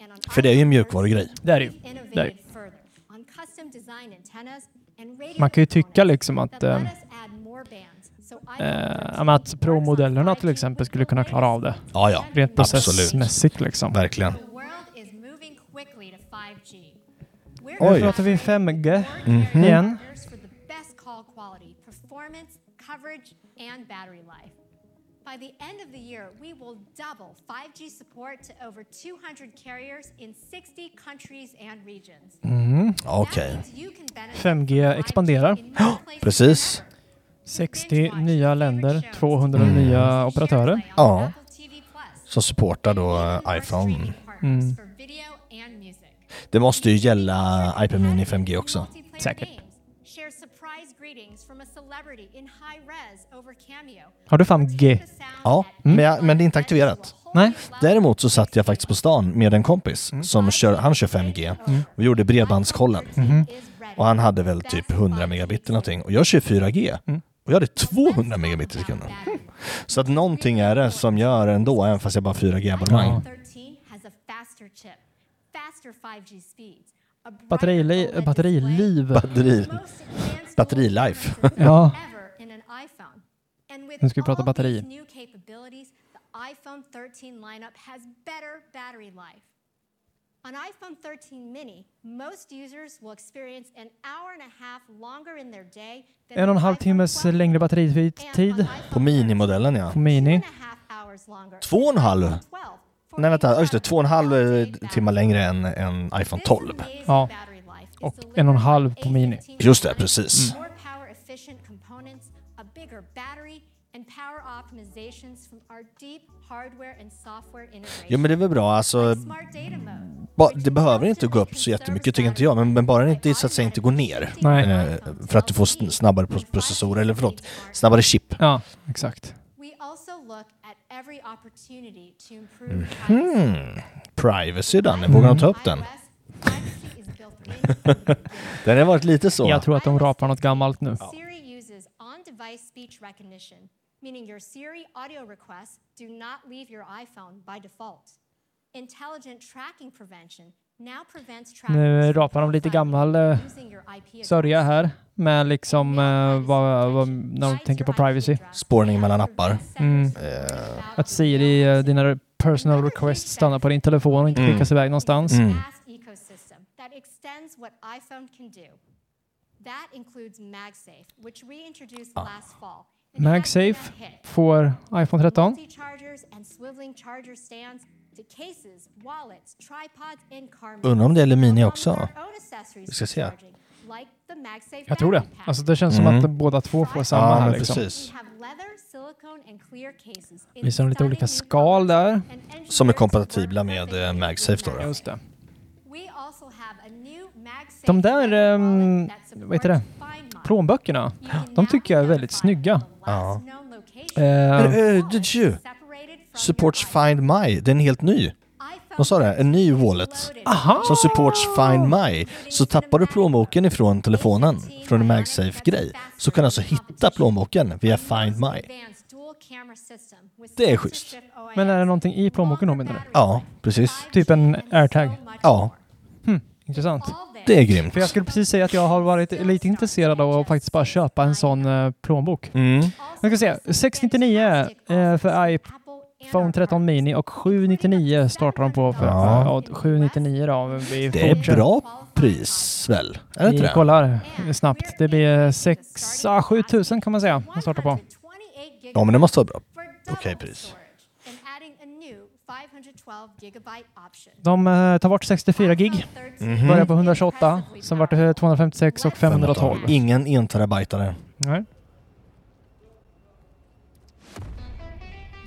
And on
För det är ju en mjukvarugrej.
Det är det ju. Det är det ju.
innovated further on custom design antennas and radio
Man kan ju tycka liksom att, eh,
let us add more bands. So
eh, ja, men att Pro-modellerna till exempel skulle kunna klara av det.
Ja, ja.
Rent
Absolut.
processmässigt liksom.
Verkligen.
the world is moving quickly to 5G. We're
Nu pratar vi 5G
Mhm.
igen.
partners for the best call quality, performance, coverage, and battery life. By the end of the year, we will double 5G support to over 200 carriers in 60 countries and regions.
Mm.
Okej.
5G expanderar.
Precis.
60 nya länder, 200 nya operatörer.
Mm. Ja. Som supportar då eh, iPhone.
Mm.
Det måste ju gälla iPad Mini 5G också.
Säkert.
Share surprise greetings from a celebrity in high res over Cameo.
Har du 5G?
Ja, men, jag, men det är inte aktiverat.
Nej.
Däremot så satt jag faktiskt på stan med en kompis
Mm.
som kör, han kör 5G och gjorde bredbandskollen.
Mm. Mhm.
Och han hade väl typ 100 megabit eller någonting och jag kör 4G
Mm.
och jag hade 200 megabit i sekunden. Hm. Så att någonting är det som gör ändå, även fast jag bara har 4G abonnemang.
13 has a faster chip, faster 5G speeds, a
Batterili,
Mm.
batteriliv.
Batteri, batterilife.
Ja.
ever in an iPhone. And with
Nu ska vi prata
all
batteri.
these new capabilities, the iPhone 13 lineup has better battery life. On iPhone 13 mini, most users will experience an hour and a half longer in their day than
En och en halv
an iPhone
timmes längre batteritid.
På minimodellen ja.
På mini.
Två och en halv? Nej vänta, just det, två och en halv eh, timmar längre än, än iPhone 12.
Ja. Och en och en halv på mini. Mm.
Just det, precis.
more power efficient components, a bigger battery, and power optimizations from our deep hardware and software integration.
Jo men det är väl bra, alltså
Smart data mode.
Ba, det behöver inte gå upp så jättemycket tycker inte jag, men, men bara det inte så att säga inte går ner.
Nej.
Eh, för att du får sn- snabbare pro- processorer, eller förlåt, snabbare chip.
Ja, exakt.
We also look at every opportunity to improve
Hmm. Privacy Danne, vågar
Mm.
de ta upp den? den har varit lite så.
Jag tror att de rapar något gammalt nu.
Siri uses on-device speech recognition, meaning your Siri audio requests do not leave your iPhone by default. Intelligent tracking prevention now prevents trackers
Nu rapar de lite gammal eh, sörja här med liksom eh, vad, vad, när de tänker på privacy.
Spårning mellan appar.
Mm. Att Siri, eh, dina personal requests stannar på din telefon och inte
Mm.
skickas iväg någonstans.
Mm.
fast ecosystem that extends what iPhone can do. That includes MagSafe, which we introduced last fall. and has
MagSafe
been a hit.
får iPhone 13.
Multi-chargers and swiveling charger stands to cases, wallets, tripods and car
Undrar om det gäller Mini också?
Own accessories
Vi ska se.
like the MagSafe
Jag tror det.
battery pack.
Alltså det känns
Mm.
som att båda två får samma
Ja,
här
men
liksom.
precis.
We have leather, silicone and clear cases in
Visar de lite olika
stunning new
skal där.
Som är kompatibla med eh, MagSafe då. då.
Just det.
We also have a new MagSafe
De där, ehm, vad heter det, plånböckerna, de tycker jag är väldigt snygga.
Ja.
Eh,
Men, eh, did you? Supports Find My, den är helt ny. Vad sa det? En ny wallet. Som supports Find My. Så tappar du plånboken ifrån telefonen, från en MagSafe-grej, så kan du alltså hitta plånboken via Find My.
advanced dual camera system with
Det är schysst.
men är det någonting i plånboken då menar du?
Ja, precis.
Typ en airtag?
Ja.
Hmm. Intressant.
Det är grymt.
För jag skulle precis säga att jag har varit lite intresserad av att faktiskt bara köpa en sån eh, plånbok.
Mm.
Jag ska se, 699 eh, för iPhone 13 mini och 799 startar de på för
Ja.
ja. 799 då. Vi
Det är
fortsätter.
bra pris väl? Är det inte
Vi
det?
kollar snabbt. Det blir 6 ah, 7 000 kan man säga de startar på.
Ja, men det måste vara bra. Okej pris.
and adding a new 512 gigabyte option.
De eh, tar bort 64 gig,
Mhm.
börjar på 128, sen vart det 256 och 512.
Ingen enterabytare.
Nej.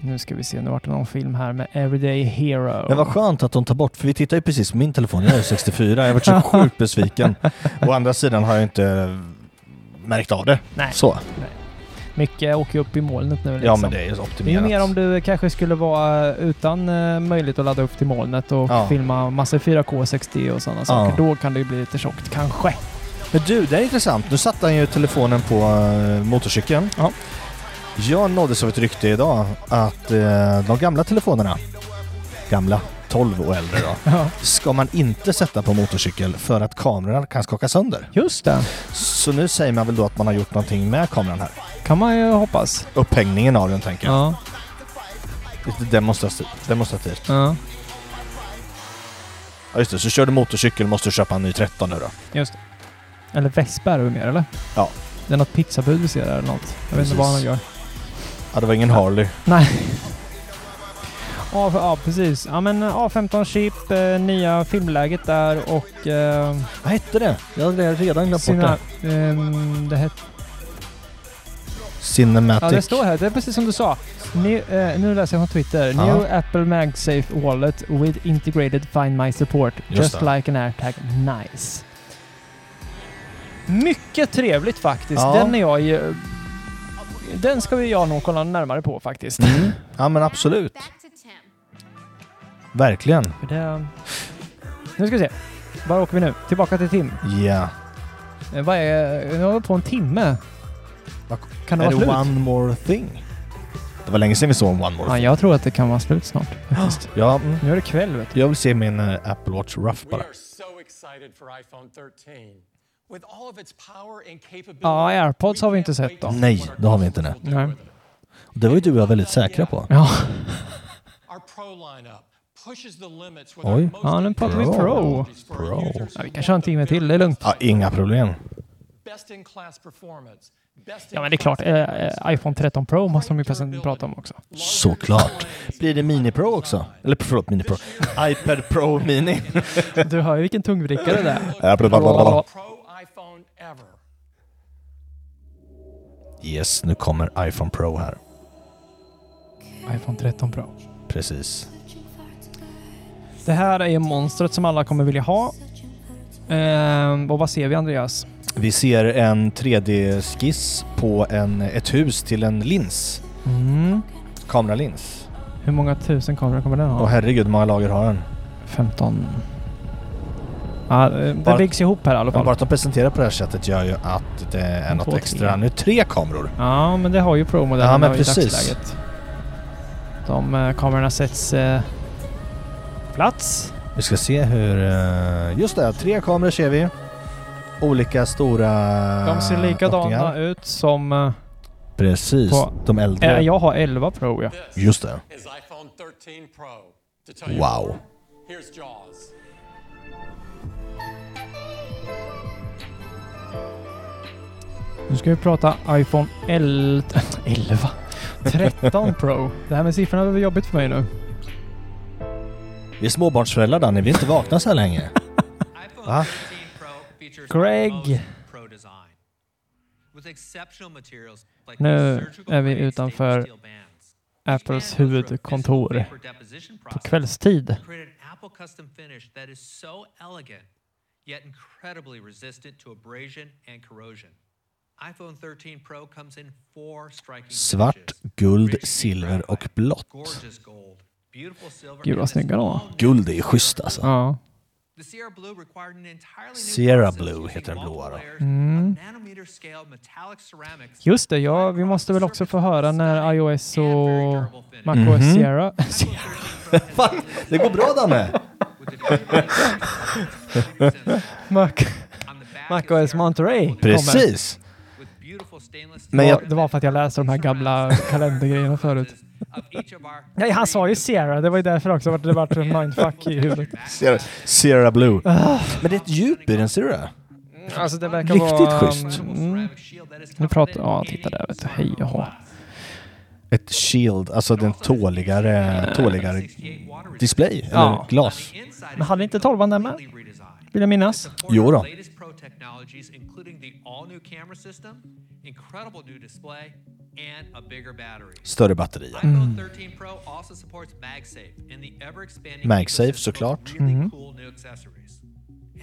Nu ska vi se, nu vart det någon film här med Everyday Hero.
Men vad skönt att de tar bort, för vi tittar ju precis på min telefon. Jag är 64, jag var så sjukt besviken. Å andra sidan har jag inte märkt av det.
Nej.
Så.
Nej. Mycket åker ju upp i molnet nu. Liksom.
Ja, men det är ju
Det är ju
optimerat.
mer om du kanske skulle vara utan eh, möjlighet att ladda upp till molnet och
Ja.
filma massor 4K 60 och sådana saker. Då kan det ju bli lite tjockt kanske.
Men du, det är intressant. Nu satte han ju telefonen på eh, motorcykeln. Jag nåddes av ett rykte idag att eh, de gamla telefonerna, gamla, 12 och äldre då, ska man inte sätta på motorcykel för att kamerorna kan skaka sönder.
Just det.
Så nu säger man väl då att man har gjort någonting med kameran här.
Kan man ju hoppas.
Upphängningen av den tänker jag.
Ja.
Lite demonstrat- demonstrativt.
Ja,
Ja just det, så kör du motorcykel måste du köpa en ny 13 nu då.
just det. Eller vespa är det väl mer eller?
Ja.
Det är något pizzabud vi ser där eller något. Jag vet inte vad han
Precis.
gör.
Ja, det var ingen Harley.
Nej. Ja, för, ja, precis. Ja, men A15 Chip, eh, nya filmläget där och... Eh,
Vad hette det? Jag hade redan glömt bort
det. Ehm, det hette...
Cinematic.
Ja, det står här. Det är precis som du sa. New, eh, nu läser jag från Twitter.
Ja.
New Apple MagSafe Wallet with integrated Find My Support.
Just
Just
det.
like an AirTag. Nice. Mycket trevligt faktiskt.
Ja.
Den är jag ju... Den ska vi jag nog kolla närmare på faktiskt.
Ja men absolut. Verkligen.
För det... Nu ska vi se. Var åker vi nu? Tillbaka till Tim.
Ja.
Eh, Vad är... Nu har vi på en timme. Kan det
är
vara slut?
det One More Thing? Det var länge sedan vi såg en One More
Ja,
Thing.
jag tror att det kan vara slut snart. faktiskt.
Ja, mm.
Nu är det kväll vet
jag vill se min eh, Apple Watch Rough bara.
We are so excited for iPhone 13. With all of its power and capability,
Ja, airpods har vi inte sett då.
Nej, det har vi inte nu.
Nej.
Det var ju du och jag väldigt säkra på.
Ja.
our Pro lineup pushes the limits with
Oj.
Ja, nu pratar vi pro. Ja, vi kan köra en timme till, det är lugnt.
Ja, inga problem.
best-in-class performance. Best
Ja, men det är klart. Eh, eh, iPhone 13 Pro måste de ju present- prata om också.
Såklart. Blir det Mini Pro också? Eller förlåt, Mini Pro. iPad Pro Mini.
Du hör ju vilken tungvrickare det
Ja, bla, bla, bla, bla.
är.
Yes, nu kommer iPhone Pro här.
iPhone 13 Pro.
Precis.
Det här är ju monstret som alla kommer vilja ha. Ehm, och vad ser vi Andreas?
Vi ser en 3D-skiss på en, ett hus till en lins.
Mm.
Kameralins.
Hur många tusen kameror kommer den ha?
Åh herregud, hur många lager har den?
15. Ja, eh, det
Bara-
byggs ihop här i alla
Men bara
fall.
att de presenterar på det här sättet gör ju att det är
En,
något
två,
extra.
tre.
Nu är det tre kameror.
Ja, men det har ju Pro-modellen
Ja, men
i
precis.
dagsläget. De eh, kamerorna sätts eh, plats.
Vi ska se hur... eh, Just det, tre kameror ser vi. Olika stora
De ser likadana
öppningar.
ut som... eh,
Precis,
på-
de äldre.
Eh, jag har 11 Pro ja.
Just det.
is iPhone 13 Pro. To tell you
Wow.
more, here's Jaws.
Nu ska vi prata iPhone 11. 11. 13 Pro. Det här med siffrorna blir jobbigt för mig nu.
Vi är småbarnsföräldrar Danny, vi är inte vakna så här länge. Va?
Greg! Nu är vi utanför Apples huvudkontor på kvällstid.
created an Apple custom finish that is so elegant, yet incredibly resistant to abrasion and corrosion. iPhone 13 Pro comes in four striking
Svart, guld, silver och blått.
gorgeous gold, beautiful silver.
Gud vad snygga de var.
Guld är ju schysst alltså.
Ja.
The Sierra Blue required an entirely new
Sierra
process
Blue
using
heter den blåa då.
Mm.
nanometer scale metallic ceramics
Just det, ja, vi måste väl också få höra när iOS och MacOS
Mhm.
Sierra...
Fan, det går bra Danne!
Mac- macOS Monterey kommer.
Precis!
Men jag... Det var för att jag läste de här gamla kalendergrejerna förut. Nej, han sa ju Sierra. Det var ju därför också vart det vart en mindfuck i huvudet.
Sierra, Sierra Blue.
Ah.
Men det är ett djup i den, ser du det?
Alltså det verkar
Riktigt
vara...
schysst.
Mm. Nu pratar... Ja, titta där vet du. Hej och hå.
Ett shield, alltså den tåligare, tåligare display, eller
Ja.
glas.
Men hade inte tolvan den med? Vill jag minnas.
Jo då.
Latest pro technologies, including the all-new camera system, incredible new display, and a bigger battery.
Större batterier.
iPhone 13 Pro also supports MagSafe and the ever-expanding
MagSafe
ecosystem of
såklart. Mm-hmm.
really
Mhm.
cool new accessories.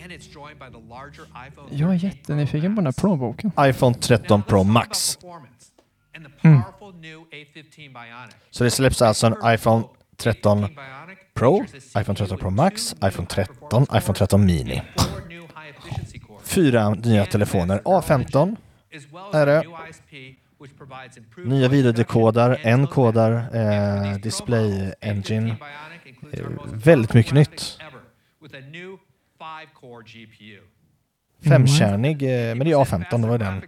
And it's joined by the larger iPhone
Jag är jättenyfiken på den här plånboken.
iPhone 13 Pro Max.
Mm.
Så det släpps alltså en iPhone 13 Pro, iPhone 13 Pro Max, iPhone 13, iPhone 13 Mini. Fyra nya telefoner. A15 är det. Nya videodekodar, en kodar, eh, display engine. Eh, väldigt mycket nytt.
with a new 5-core GPU.
Femkärnig, eh, men det är A15, det var den.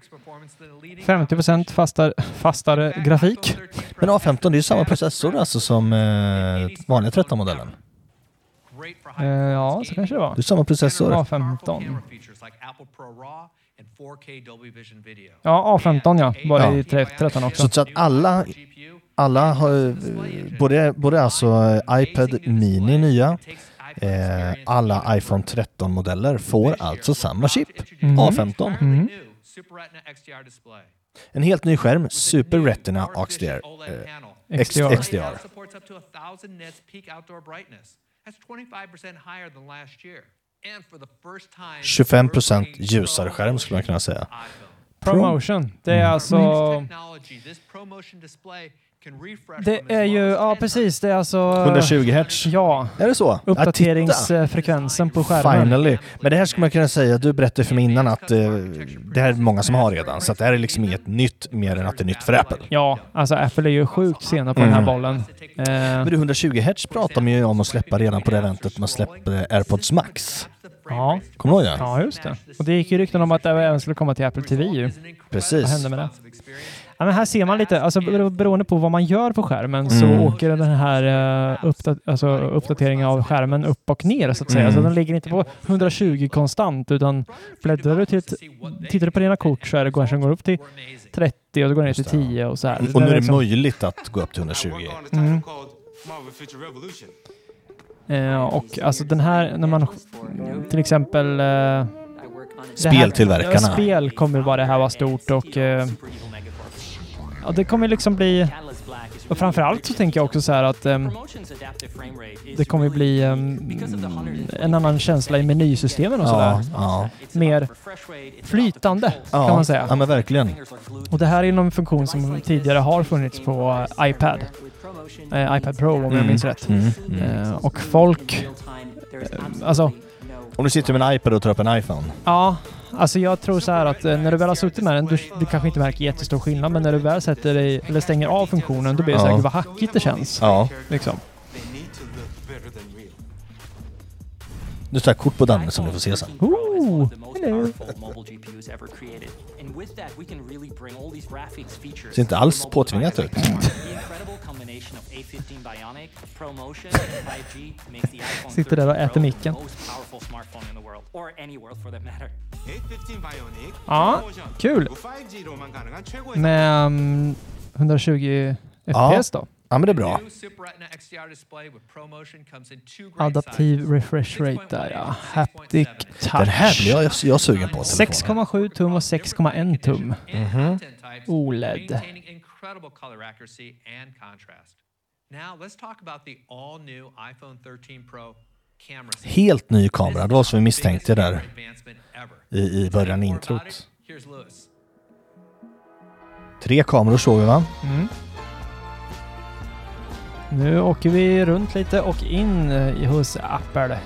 50 procent fastare, fastare grafik.
Men A15 det är ju samma processor alltså som eh, vanliga 13-modellen.
Eh, ja, så kanske det var.
Det är samma processor.
A15.
Features like Apple Pro RAW and 4K Dolby Vision video.
Ja, A15 ja. Var det i 13 också.
Så, så att alla, alla har eh, både, både alltså eh, iPad Mini nya, eh, alla iPhone 13-modeller får alltså samma chip,
Mhm.
A15.
Mm.
Super Retina XDR display.
En helt ny skärm, Super Retina XDR. Eh, X-
XDR.
XDR.
Supports up to 1000 nits peak outdoor brightness. That's 25% higher than last year. And for the first time,
25 ljusare skärm skulle man kunna säga.
Promotion. Det är
Mm.
alltså... Det är ju, ja precis, det är alltså...
120 hertz.
Ja.
Är det så?
Uppdateringsfrekvensen på skärmen.
Finally. Men det här skulle man kunna säga, du berättade för mig innan att eh, det här är många som har redan, så att det här är liksom inget nytt mer än att det är nytt för Apple.
Ja, alltså Apple är ju sjukt sena på den här
Mm.
bollen. Eh,
Men du, 120 Hz pratar man ju om att släppa redan på det eventet man släppte AirPods Max.
ja.
Kommer du ihåg det?
Ja, just det. Och det gick ju rykten om att det även skulle komma till Apple TV ju.
Precis.
Vad hände med det? Ja, men här ser man lite, alltså bero- beroende på vad man gör på skärmen så
Mm.
åker den här eh, uppda- alltså, uppdateringen av skärmen upp och ner så att säga.
Mm.
Så den ligger inte på 120 konstant utan bläddrar du till ett, typ- tittar du på dina kort så är det kanske den går upp till 30 och då går den ner till 10 och så här.
Och nu är det
liksom-
möjligt att gå upp till 120. Mm-hmm.
Mm.
Marvel Future Revolution.
Eh, och alltså den här, när man till exempel... eh, det här-
Speltillverkarna.
Ja, spel kommer ju bara det här vara stort och... eh, ja, det kommer liksom bli... Och framförallt så tänker jag också så här att ehm, det kommer bli ehm, en annan känsla i menysystemen och
Ja,
sådär.
ja.
Mer flytande
Ja,
kan man säga.
ja, men verkligen.
Och det här är någon funktion som tidigare har funnits på eh, iPad. Eh, iPad Pro om jag
Mm,
minns rätt.
mm,
Eh, och folk... eh, alltså,
Om du sitter med en iPad och tar upp en iPhone.
Ja, alltså jag tror så här att eh, när du väl har suttit med den, du, du kanske inte märker jättestor skillnad, men när du väl sätter dig, eller stänger av funktionen, då blir det så
Ja.
här, "Gud, vad hackigt det känns.
Ja.
Liksom.
Nu tar jag kort på Danne som du får se sen.
Ooh, Oh, hello.
Powerful mobile GPUs ever created. And with that, we can really bring all these graphics features.
Ser inte alls påtvingat ut.
The incredible combination of A15 Bionic, ProMotion, and 5G makes the iPhone
Sitter där och
13
äter
Pro
micken.
the most powerful smartphone in the world, or any world for that matter. A15 Bionic,
Ja, kul. Med mm, 120 FPS då.
Ja, men det är bra.
Adaptiv refresh rate där ja. Haptic touch.
Den här blir jag, jag är sugen på. telefonen.
6,7 tum och 6,1 tum. E
Mhm.
OLED.
Mm-hmm. maintaining incredible color accuracy and contrast. Now let's talk about the all-new iPhone 13 Pro camera. system.
Helt ny kamera, det var som vi misstänkte där
Advancement ever.
i, i början i introt.
Here's Lewis.
Tre kameror såg vi va?
Mm. Nu åker vi runt lite och in eh, i hos Apple.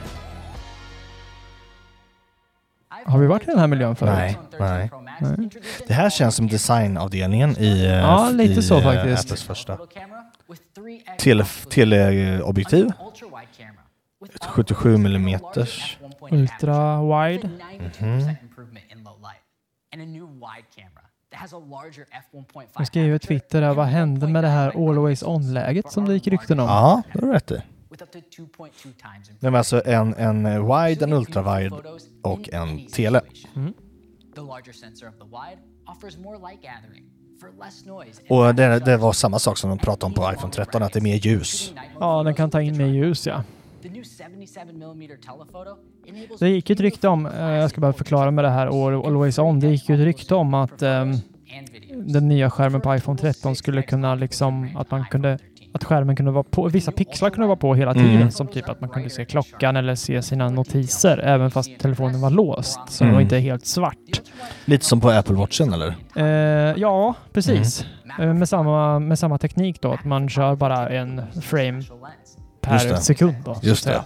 Har vi varit i den här miljön förut?
Nej, nej.
Nej.
Det här känns som designavdelningen i, eh,
Ja, lite
i
så
eh,
faktiskt.
Apples första. Till, till eh, objektiv. Ett 77 mm.
Ultra wide.
Mm-hmm.
Mhm.
improvement in low light, and a new wide camera that has a larger f1.5.
Nu skriver Twitter här, vad hände med det här always on-läget som det gick rykten om?
Ja, det har du rätt i.
times
Nej, men alltså en, en eh, wide, en ultrawide och en tele.
The larger sensor of the wide offers more light gathering for less noise. and
Och det, det var samma sak som de pratade om på iPhone 13, att det är mer ljus.
Ja, den kan ta in mer ljus ja.
The new 77 millimeter telephoto enables
Det gick ju ett rykte om, eh, jag ska bara förklara med det här Al- Always On, det gick ju ett rykte om att ehm, den nya skärmen på iPhone 13 skulle kunna liksom, att man kunde, att skärmen kunde vara på, vissa pixlar kunde vara på hela
Mm.
tiden, som typ att man kunde se klockan eller se sina notiser, även fast telefonen var låst, så den var
Mm.
inte helt svart.
Lite som på Apple Watchen, eller?
Eh, ja, precis. Eh, med, samma, med samma teknik då, att man kör bara en frame per
det.
sekund. Då, så att
Just
säga. Eh,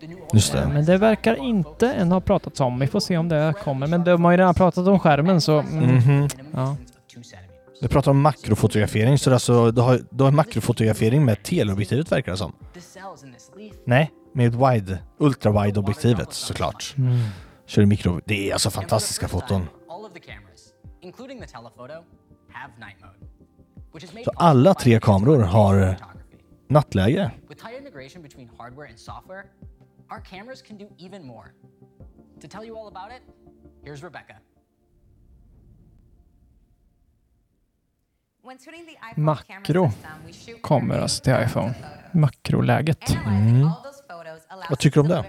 det. Just det.
Men det verkar inte än ha pratats om. Vi får se om det kommer. Men de har ju redan pratat om skärmen så... Mm.
Mhm.
Ja.
Du pratar om makrofotografering, så det är alltså, du, har, du har makrofotografering med teleobjektivet verkar det som. Nej, med wide, ultrawide-objektivet såklart.
Mm.
Kör du mikro... Det är alltså fantastiska foton.
all of the cameras, including the telephoto, have night mode, which is made
Så alla tre kameror har nattläge.
With tight integration between hardware and software, our cameras can do even more. To tell you all about it, here's Rebecca.
Makro kommer alltså till iPhone. Mm-hmm. Makroläget.
Mm. Vad tycker du om det?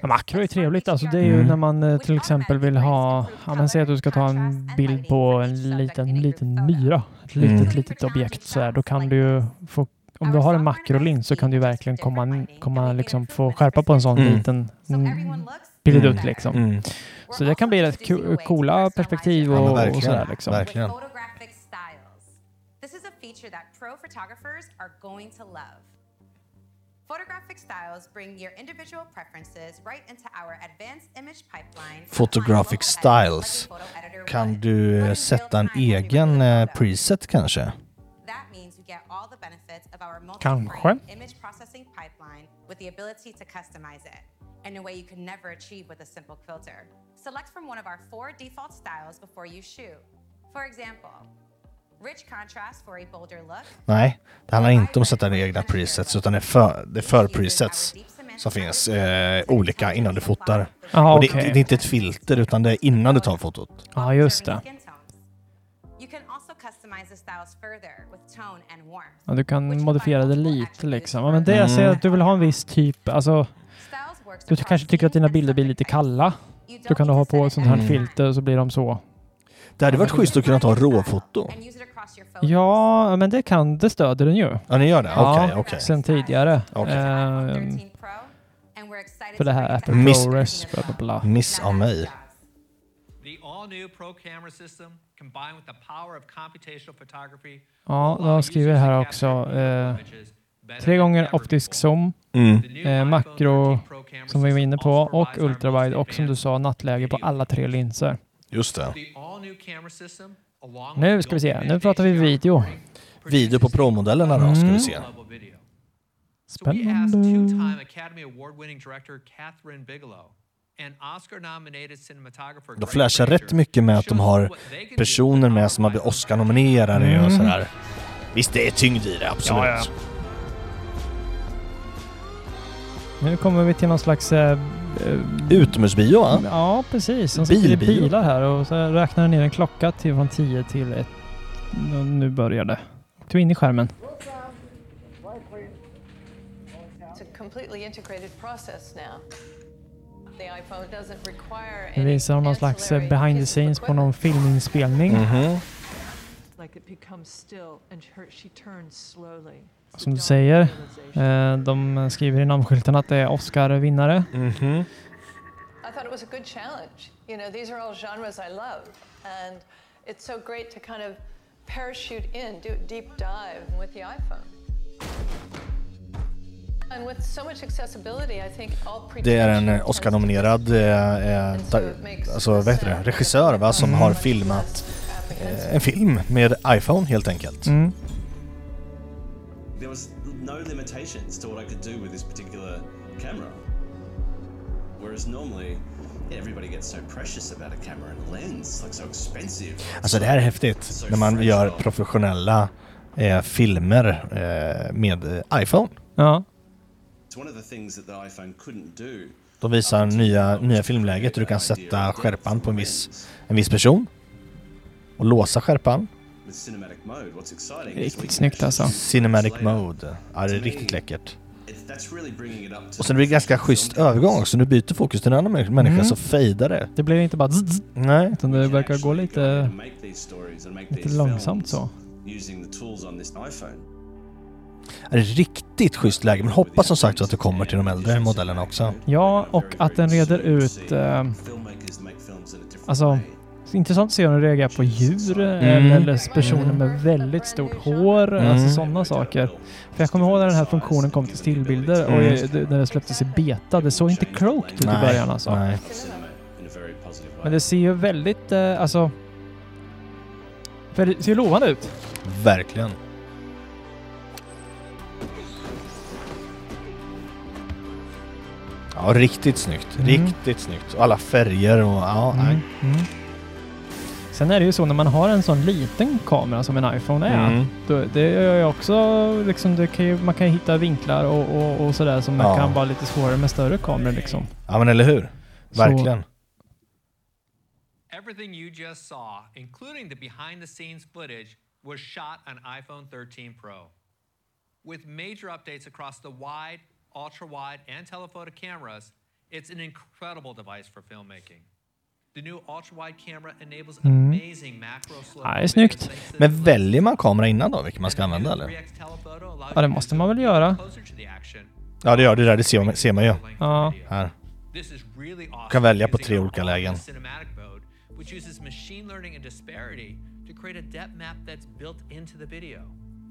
Ja, Makro är trevligt. Alltså det är ju
Mm.
när man eh, till exempel vill ha... Ja, men säg att du ska ta en bild på en liten, liten myra. Ett litet,
Mm.
litet objekt så här. Då kan du ju få... Om du har en makrolins så kan du ju verkligen komma, komma liksom få skärpa på en sån
Mm.
liten mm, pilledutt
Mm.
liksom.
Mm.
Så det kan bli rätt co- coola perspektiv
Ja, men
och, och
verkligen.
sådär liksom.
Verkligen.
Photographic styles. This is a feature that pro photographers are going to love. Photographic styles bring your individual preferences right into our advanced image pipeline.
Photographic styles. Kan du eh, sätta en egen eh, preset kanske?
That means you get all the benefits of our
Kanske.
multi-frame image processing pipeline with the ability to customize it in a way you can never achieve with a simple filter. Select from one of our four default styles before you shoot. For example, rich contrast for a bolder look,
Nej, det handlar inte om att sätta dina egna presets utan det är för, det är för presets som finns eh, olika innan du fotar.
Jaha,
och det,
okej.
det, det är inte ett filter utan det är innan du tar fotot.
Ja, just det.
skin tones. You can also customize the styles further with tone and warmth.
Ja, du kan modifiera det lite liksom. Ja, men det
Mm.
jag säger att du vill ha en viss typ, alltså du ty- kanske tycker att dina bilder blir lite kalla. Då kan du ha på ett sånt här
Mm.
filter och så blir de så.
Det hade varit schysst att kunna ta råfoto.
Ja, men det kan, det stöder den ju.
Ja, ni gör det?
Ja,
Okej, okej.
sen tidigare.
Okej.
Ehm, för det här Apple
Miss-
ProRes, bla bla bla.
Miss av mig.
The all-new Pro Camera system, combined with the power of computational photography,
Ja, de skriver här också eh, tre gånger optisk zoom,
Mm.
eh, makro som vi var inne på och ultrawide och som du sa nattläge på alla tre linser.
Just det.
Nu ska vi se, nu pratar vi video.
Video på Pro-modellerna då, ska vi
Mm.
se.
Spännande.
Academy Award-winning director Catherine Bigelow and Oscar-nominated cinematographer
De flashar rätt mycket med att de har personer med som har blivit Oscar-nominerade och
Mm.
sådär. Visst, det är tyngd i det, absolut.
Ja, ja. Nu kommer vi till någon slags... Eh, eh,
Utomhusbio, va?
Ja, precis. De sitter i
Bilbio.
bilar här och så räknar den ner en klocka till från 10 till 1. Nu börjar det. Du in i skärmen.
It's a completely integrated process now. The iPhone doesn't require
Det
any
visar någon slags eh, behind the scenes på någon filminspelning.
like it becomes still and her, she turns slowly.
Som du säger, eh, de skriver i namnskylten att det är Oscar-vinnare.
Mm.
I thought it was a good challenge. You know, these are all genres I love, and it's so great to kind of parachute in, do a deep dive with the iPhone. And with so much accessibility, I think all pre
Det är en eh, Oscar-nominerad eh, eh, ta- alltså, vad heter det? regissör va? som
Mm.
har filmat eh, en film med iPhone helt enkelt.
Mm.
there was no limitations to what I could do with this particular
camera. Whereas normally, everybody gets so precious about a camera and lens, like so expensive.
Alltså det här är häftigt när man gör professionella eh, filmer eh, med eh, iPhone.
Ja.
It's one of the things that the iPhone couldn't do.
De visar nya, nya filmläget och du kan sätta skärpan på en viss, en viss person och låsa skärpan.
With cinematic mode, what's exciting is we
Riktigt
can
snyggt alltså.
Cinematic mode. Ja, det är riktigt läckert.
It- that's really bringing it up to
Och sen blir det ganska schysst övergång, så nu byter fokus till en annan människa
Mm.
så fejdar det.
Det blir inte bara zzz, zzz.
Nej.
Utan det verkar gå lite,
make these stories and make
lite
these
långsamt så.
films using the tools on this iPhone.
Ja, Det är riktigt schysst läge, men hoppas som sagt att det kommer till de äldre modellerna också.
Ja, och att den reder ut... Eh, alltså, så intressant att se hur den reagerar på djur eh,
Mm.
eller personer med väldigt stort hår.
Mm.
Alltså sådana saker. För jag kommer ihåg när den här funktionen kom till stillbilder och
Mm.
eh, det- när det släpptes i beta. Det såg inte klokt ut i
Nej,
början alltså.
nej.
Men det ser ju väldigt... Eh, alltså... För det ser ju lovande ut.
Verkligen. Ja, riktigt snyggt.
Mm.
Riktigt snyggt. Och Alla färger och ja,
Mm,
nej.
mm. Sen är det ju så när man har en sån liten kamera som en iPhone är.
Mm.
Då, det är ju också liksom, det kan ju, man kan ju hitta vinklar och, och, och sådär som
Ja.
kan vara lite svårare med större kameror liksom.
Ja, men eller hur?
Så-
Verkligen.
Everything you just saw, including the behind the scenes footage, was shot on iPhone 13 Pro. With major updates across the wide, ultra wide, and telephoto cameras, it's an incredible device for filmmaking. The new ultra wide camera enables
Mm-hmm.
Mm.
amazing macro slow
Ja, det är snyggt. Men väljer man kamera innan då, vilken man ska använda eller?
Ja, det måste man väl göra.
Ja, det gör det där. Det ser man, ser man ju.
Ja.
Här. Du kan välja på tre olika lägen.
cinematic mode, which uses machine learning and disparity to create a depth map that's built into the video.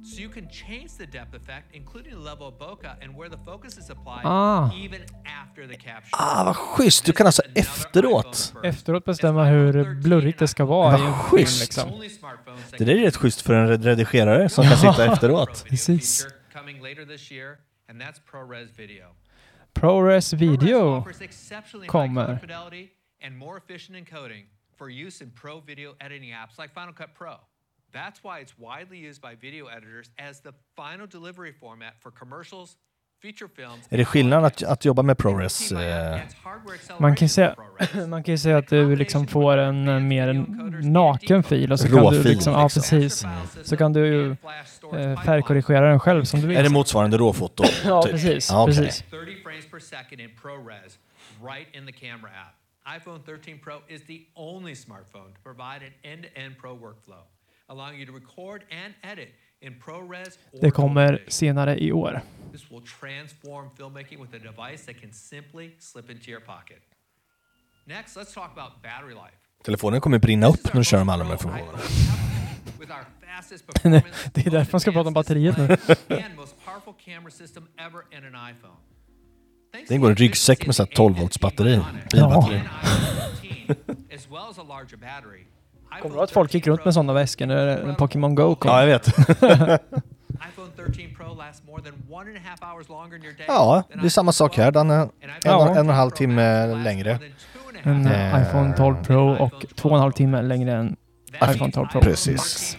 So you can change the depth effect, including the level of bokeh and where the focus is applied,
Ah.
even after the caption.
Ah, vad schysst! Du kan alltså efteråt.
Efteråt bestämma hur blurrigt det ska vara i en
Vad
film
schysst.
liksom.
Det där är rätt schysst för en redigerare som kan
Ja.
sitta efteråt.
Precis.
Coming later this year, and that's ProRes Video.
ProRes Video
Offers exceptionally high color
kommer.
fidelity and more efficient encoding for use in pro video editing apps like Final Cut Pro. That's why it's widely used by video editors as the final delivery format for commercials, feature films,
Är det skillnad att, att jobba med ProRes? Eh,
Man kan ju säga, man kan ju säga att du liksom får en eh, mer en naken fil och så kan du
Råfil,
liksom, ja
liksom.
precis. Så kan du ju, eh, färgkorrigera den själv som du vill.
är det motsvarande råfoto?
Ja,
typ?
precis,
Ja, okej.
precis.
30 frames per second in ProRes right in the camera app. iPhone 13 Pro is the only smartphone to provide an end-to-end pro workflow, allowing you to record and edit in ProRes or
Det kommer senare i år.
This will transform filmmaking with a device that can simply slip into your pocket. Next, let's talk about battery life.
Telefonen kommer brinna upp när du kör de alla de här funktionerna.
With our fastest
Det är därför man ska prata om batteriet nu.
and most powerful camera system ever in an iPhone.
Den går i en ryggsäck med så här 12 volts batteri. Bilbatteri.
As well as a larger battery,
Kommer du ihåg att folk gick runt med sådana väskor när Pokémon Go kom?
Ja, jag vet.
iPhone 13 Pro lasts more than one and a half hours longer in your day.
Ja, det är samma sak här. Den är en,
Ja.
en och en halv timme längre.
en
Eh,
iPhone 12 Pro och två och en halv timme längre än iPhone 12 Pro.
Precis.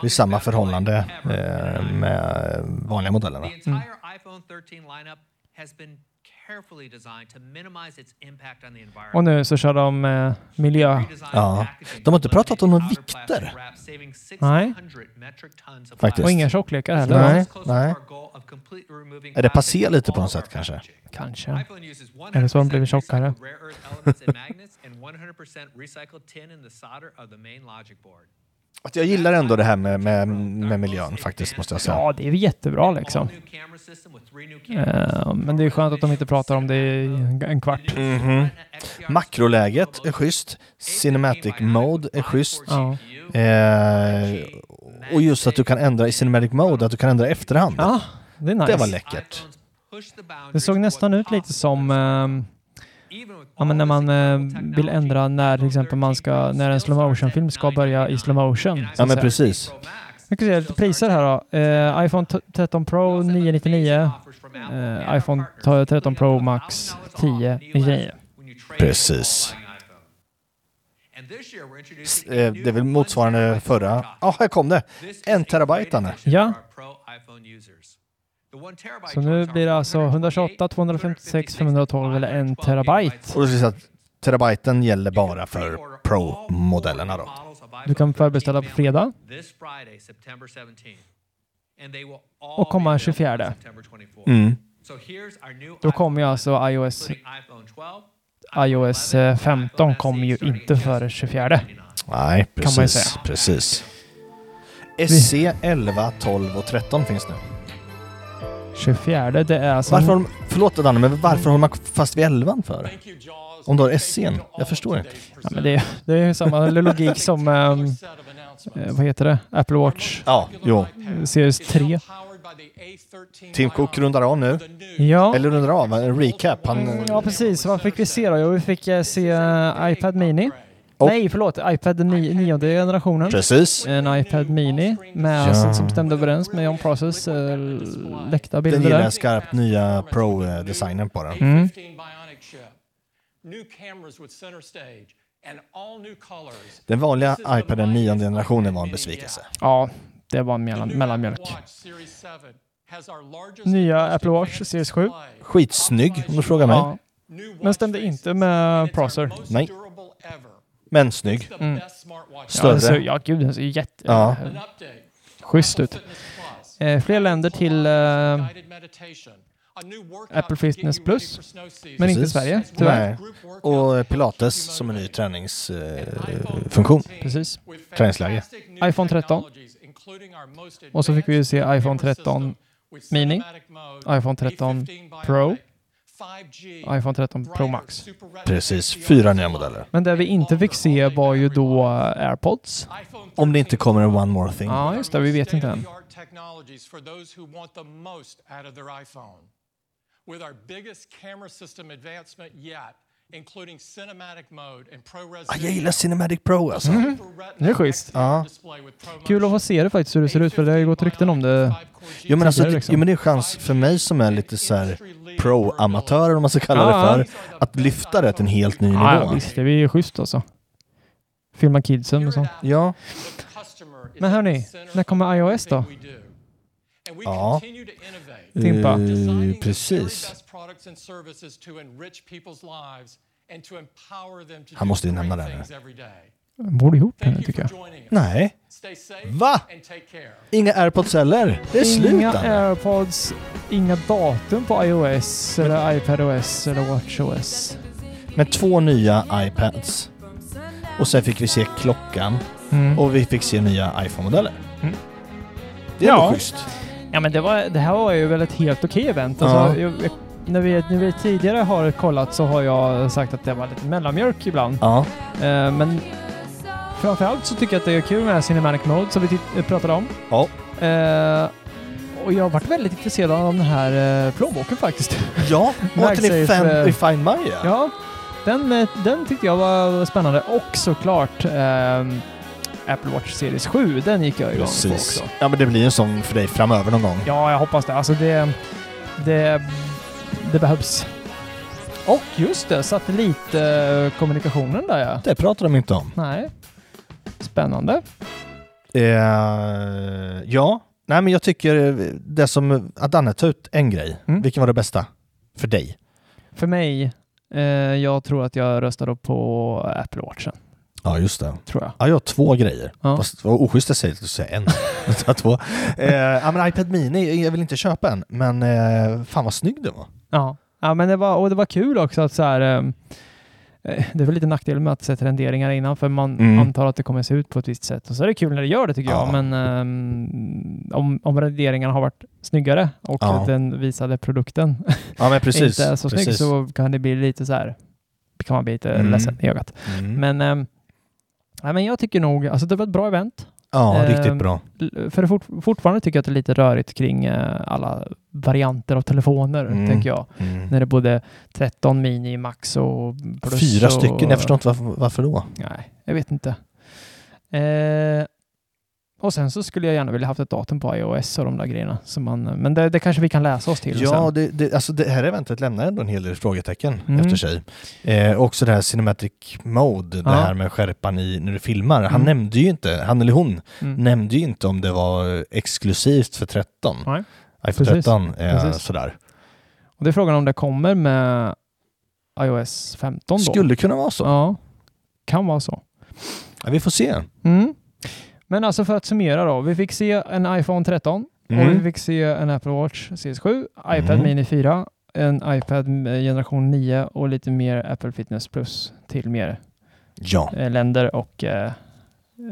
Det är samma förhållande eh, med vanliga modellerna.
The entire
Mm.
iPhone 13 lineup has been carefully designed to minimize its impact on the environment.
Och nu så kör de eh, miljö.
Ja. De har inte pratat om några vikter.
Nej.
Faktiskt.
Och inga tjocklekar heller.
Nej, nej. Är det passé lite på något sätt kanske?
Kanske. Eller så har de blivit tjockare.
rare earth elements and magnets and 100% recycled tin in the solder of the main logic board.
Att jag gillar ändå det här med, med, med miljön faktiskt, måste jag säga.
Ja, det är väl jättebra liksom. Eh, men det är skönt att de inte pratar om det i en kvart.
Mhm. Makroläget är schysst. Cinematic mode är schysst.
Ja.
Eh, och just att du kan ändra i cinematic mode, att du kan ändra i efterhand.
Ja, det är nice.
Det var läckert.
Det såg nästan ut lite som ehm, ja, men när man eh, vill ändra när till exempel man ska, när en slow motion film ska börja i slow motion. så
Ja,
att
men
säga.
precis.
Det Vi kan se lite priser här då. Eh, iPhone t- 13 Pro 999. Eh, iPhone t- 13 Pro Max 10 99.
Precis. S- eh, Det är väl motsvarande förra. Ja, här kom det. En terabyte, Anne.
Ja. Så nu blir det alltså 128, 256, 512 eller 1 terabyte.
Och då ska vi säga att terabyten gäller bara för Pro-modellerna då.
Du kan förbeställa på fredag
this Friday, September 17th. And they will all
och komma den 24.
Mm.
So here's our new
Då kommer ju alltså iOS... iOS eh, 15 kommer ju inte före 24.
Nej,
Kan man ju
precis.
säga.
precis. SE 11, 12 och 13 finns
Mm.
nu.
24, det är alltså...
Varför har de, förlåt Danne, men varför håller man fast vid 11 för? Om du har SE'n? Jag förstår inte.
Ja, men det, är- det är ju samma logik som, ehm, eh, vad heter det, Apple Watch?
Ja, jo.
Series 3.
Tim Cook rundar av nu.
Ja.
Eller rundar av, en recap. Han,
Mm, ja, precis. Vad fick vi se då? Jo, vi fick eh, se eh, iPad Mini. Nej, förlåt. iPad ni- nionde generationen.
Precis.
En iPad Mini med,
Ja.
som stämde överens med John Process eh, läckta
den
bilder
gillar
där.
skarpt nya Pro-designen på den.
Mm.
New cameras with center stage and all new colors.
Den vanliga iPaden nionde generationen var en besvikelse.
Ja, det var mellan, mellanmjölk. Nya Apple Watch Series 7.
Skitsnygg om du frågar mig.
Ja. Men stämde inte med Procer.
Nej. Men snygg.
Mm.
Större.
Ja, så, ja gud, den ser ju jätte...
Ja.
Schysst ut. Eh, fler länder till eh, Apple Fitness Plus, men inte
Precis.
Sverige tyvärr.
Nej. Och eh, Pilates som en ny träningsfunktion.
Precis.
Träningsläge.
iPhone 13. Och så fick vi ju se iPhone 13 Mini, iPhone 13 Pro, iPhone 13 Pro Max.
Precis, fyra nya modeller.
Men det vi inte fick se var ju då eh, AirPods.
Om det inte kommer en One More Thing.
Ja, just det. Vi vet inte än.
technologies for those who want the most out of their iPhone. With our biggest camera system advancement yet, including cinematic mode and ProRes
Ah, Jag gillar Cinematic Pro alltså.
Mm. Det är schysst.
Ja.
Kul att få se det faktiskt, hur det ser ut, för det har ju gått rykten om det
Jo men, alltså,
tidigare,
det,
liksom.
jo men det är chans för mig som är lite så här pro-amatörer om man ska kalla det för, att lyfta det till en helt ny
Ja, ja,
nivå.
visst. Det är ju schysst alltså. Filma kidsen och sånt.
Ja.
Men hörni, när kommer iOS då?
Ja.
Timpa.
Eh, precis.
products and services to enrich people's lives and to empower them to
Han
do
måste ju
great
nämna det här
things every day.
Borde ihop henne tycker jag.
Nej.
Stay safe
Va?
and take care.
Inga airpods heller. Det är slut
Inga
Anna.
airpods, inga datum på iOS eller iPadOS eller WatchOS.
Med två nya iPads. Och sen fick vi se klockan.
Mm.
Och vi fick se nya iPhone-modeller.
Mm.
Det är ja.
Ja.
schysst.
Ja men det, var, det här var ju väl ett helt okej event. Alltså,
Ja.
jag, jag, när, vi, när vi tidigare har kollat så har jag sagt att det var lite mellanmjölk ibland.
Ja.
Eh, men framförallt så tycker jag att det är kul med Cinematic Mode som vi titt- eh, pratade om.
Ja.
Eh, och jag har varit väldigt intresserad av den här eh, plånboken faktiskt.
Ja, och till
MagSafe,
Refine,
eh,
Refine Maya.
Ja, den, eh, den tyckte jag var spännande. Och såklart ehm, Apple Watch Series 7, den gick jag igång på
Precis.
också.
Ja, men det blir en sån för dig framöver någon gång.
Ja, jag hoppas det. Alltså det, det, det behövs. Och just det, satellitkommunikationen där ja.
Det pratar de inte om.
Nej. Spännande.
Eh, ja, nej men jag tycker eh, det som, att Anne tar ut en grej.
Mm.
Vilken var det bästa för dig?
För mig, eh, jag tror att jag röstade på Apple Watchen.
Ja, just det.
Tror jag.
Ja, jag har två grejer.
Ja.
Fast det var oschysst att säga att du säger en. Jag tar två. Eh, ja, men iPad Mini, jag vill inte köpa en, men eh, fan vad snygg den var.
Ja, ja men det var, och det var kul också att så här, ehm, eh, det är väl lite nackdel med att sätta renderingar innan för man
Mm.
antar att det kommer se ut på ett visst sätt. Och så är det kul när det gör det tycker
Ja.
jag, men ehm, om, om renderingarna har varit snyggare och
Ja.
att den visade produkten
Ja, men precis,
inte är så snygg
precis.
så kan det bli lite så här, kan man bli lite
Mm.
ledsen i ögat.
Mm.
Men, ehm, nej, men jag tycker nog, alltså det var ett bra event.
Ja,
Ehm,
riktigt bra.
l- För det fort, fortfarande tycker jag att det är lite rörigt kring eh, alla varianter av telefoner,
Mm.
tänker jag.
Mm.
När det är både 13 mini, max och plus.
Fyra
och,
stycken, jag förstår inte varför, varför då.
Nej, jag vet inte. Eh, Och sen så skulle jag gärna vilja haft ett datum på iOS och de där grejerna. Som man, men det, det kanske vi kan läsa oss till
Ja,
sen.
det, det, alltså det här eventet lämnar ändå en hel del frågetecken
Mm.
efter sig. Eh, också det här Cinematic Mode,
Ja.
det här med skärpan i när du filmar. Han
Mm.
nämnde ju inte, han eller hon
Mm.
nämnde ju inte om det var exklusivt för 13.
Nej.
iPhone
Precis.
13 eh,
Precis.
sådär.
Och det är frågan om det kommer med iOS 15 då.
Skulle kunna vara så.
Ja, kan vara så.
Ja, vi får se.
Mm. Men alltså för att summera då. Vi fick se en iPhone 13
Mm.
och vi fick se en Apple Watch CS7, iPad
Mm.
Mini 4, en iPad med generation 9 och lite mer Apple Fitness Plus till mer
Ja.
eh, länder och eh,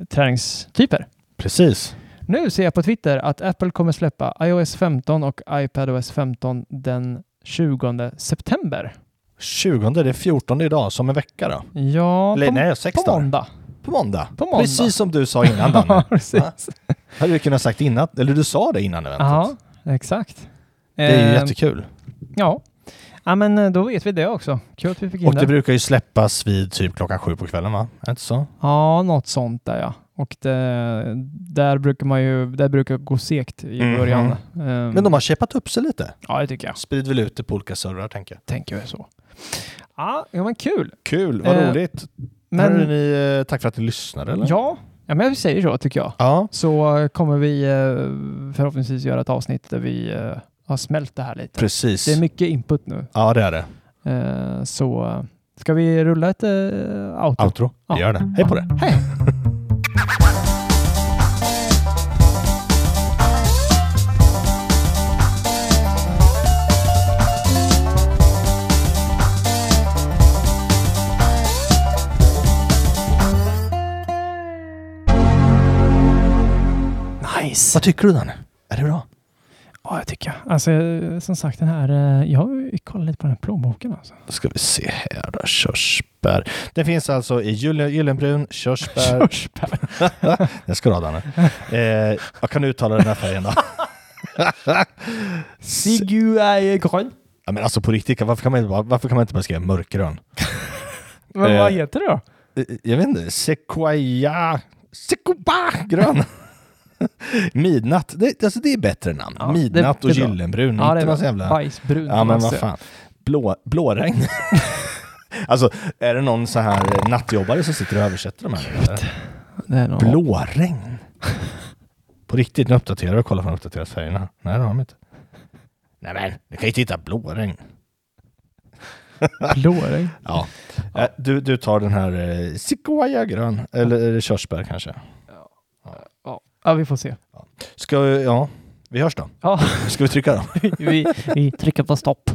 träningstyper.
Precis.
Nu ser jag på Twitter att Apple kommer släppa iOS 15 och iPadOS 15 den 20 september.
20, det är 14 idag, som en vecka då.
Ja,
Eller,
på,
nej, sex
på
dagar.
måndag.
På måndag.
På måndag.
Precis som du sa innan. Danne.
Ja, precis.
Ja. Hade du kunnat sagt innan, eller du sa det innan eventet.
Ja, exakt.
Det är ju
Eh,
jättekul.
Ja. ja, men eh, då vet vi det också. Kul att vi fick in
Och det
det.
brukar ju släppas vid typ klockan sju på kvällen va? Är det inte
Mm.
så?
Ja, något sånt där ja. Och det, där brukar man ju, där brukar det gå segt i
Mhm.
början. Ehm,
Men de har käppat upp sig lite.
Ja, det tycker jag.
Sprider väl ut det på olika servrar tänker jag.
Tänker jag så. Ja, ja, men kul.
Kul, vad
Eh,
roligt.
men-
Men... Hörde ni, eh, tack för att ni lyssnade eller?
Ja, ja men jag säger så tycker jag.
Ja.
Så eh, kommer vi eh, förhoppningsvis göra ett avsnitt där vi eh, har smält det här lite.
Precis.
Det är mycket input nu.
Ja, det är det.
Eh, Så eh, ska vi rulla ett eh, outro?
Outro. Vi gör det. Hej på det.
Hej! Nice.
Vad tycker du Danne? Är det bra?
Ja, jag tycker jag. Alltså, eh, som sagt, den här, eh, jag har ju kollat lite på den här plånboken alltså.
Då ska vi se här då. Körsbär. Den finns alltså i gylle- gyllenbrun, körsbär.
körsbär.
den ska du ha Danne. Eh, jag kan uttala den här färgen då.
Siguai-grön.
Ja, men alltså på riktigt, varför kan man inte bara, varför kan man inte bara skriva mörkgrön?
Men vad
Eh,
heter det då?
Eh, Jag vet inte, Sequoia... Sequoia grön! Midnatt, det, alltså det är bättre namn.
Ja,
Midnatt
det-
och
det är bra.
gyllenbrun,
Ja, det är
inte
bra.
någon sån jävla...
Bajsbrun Alltså,
Ja, men
måste
vad
jag.
fan. Blå, blåregn. alltså, är det någon så här nattjobbare som sitter och översätter de här? eller?
Det är nog-
Blåregn? På riktigt, nu uppdaterar och kollar om de uppdaterat färgerna. Nej, det har de inte. Nej men, du kan ju titta blåregn.
Blåregn?
ja. Eh, Du, du tar den här eh, Sequoia grön, eller är det körsbär kanske?
Ja, vi får se.
Ska vi, ja, vi hörs då.
Ja.
Ska vi trycka då?
vi, vi trycker på stopp.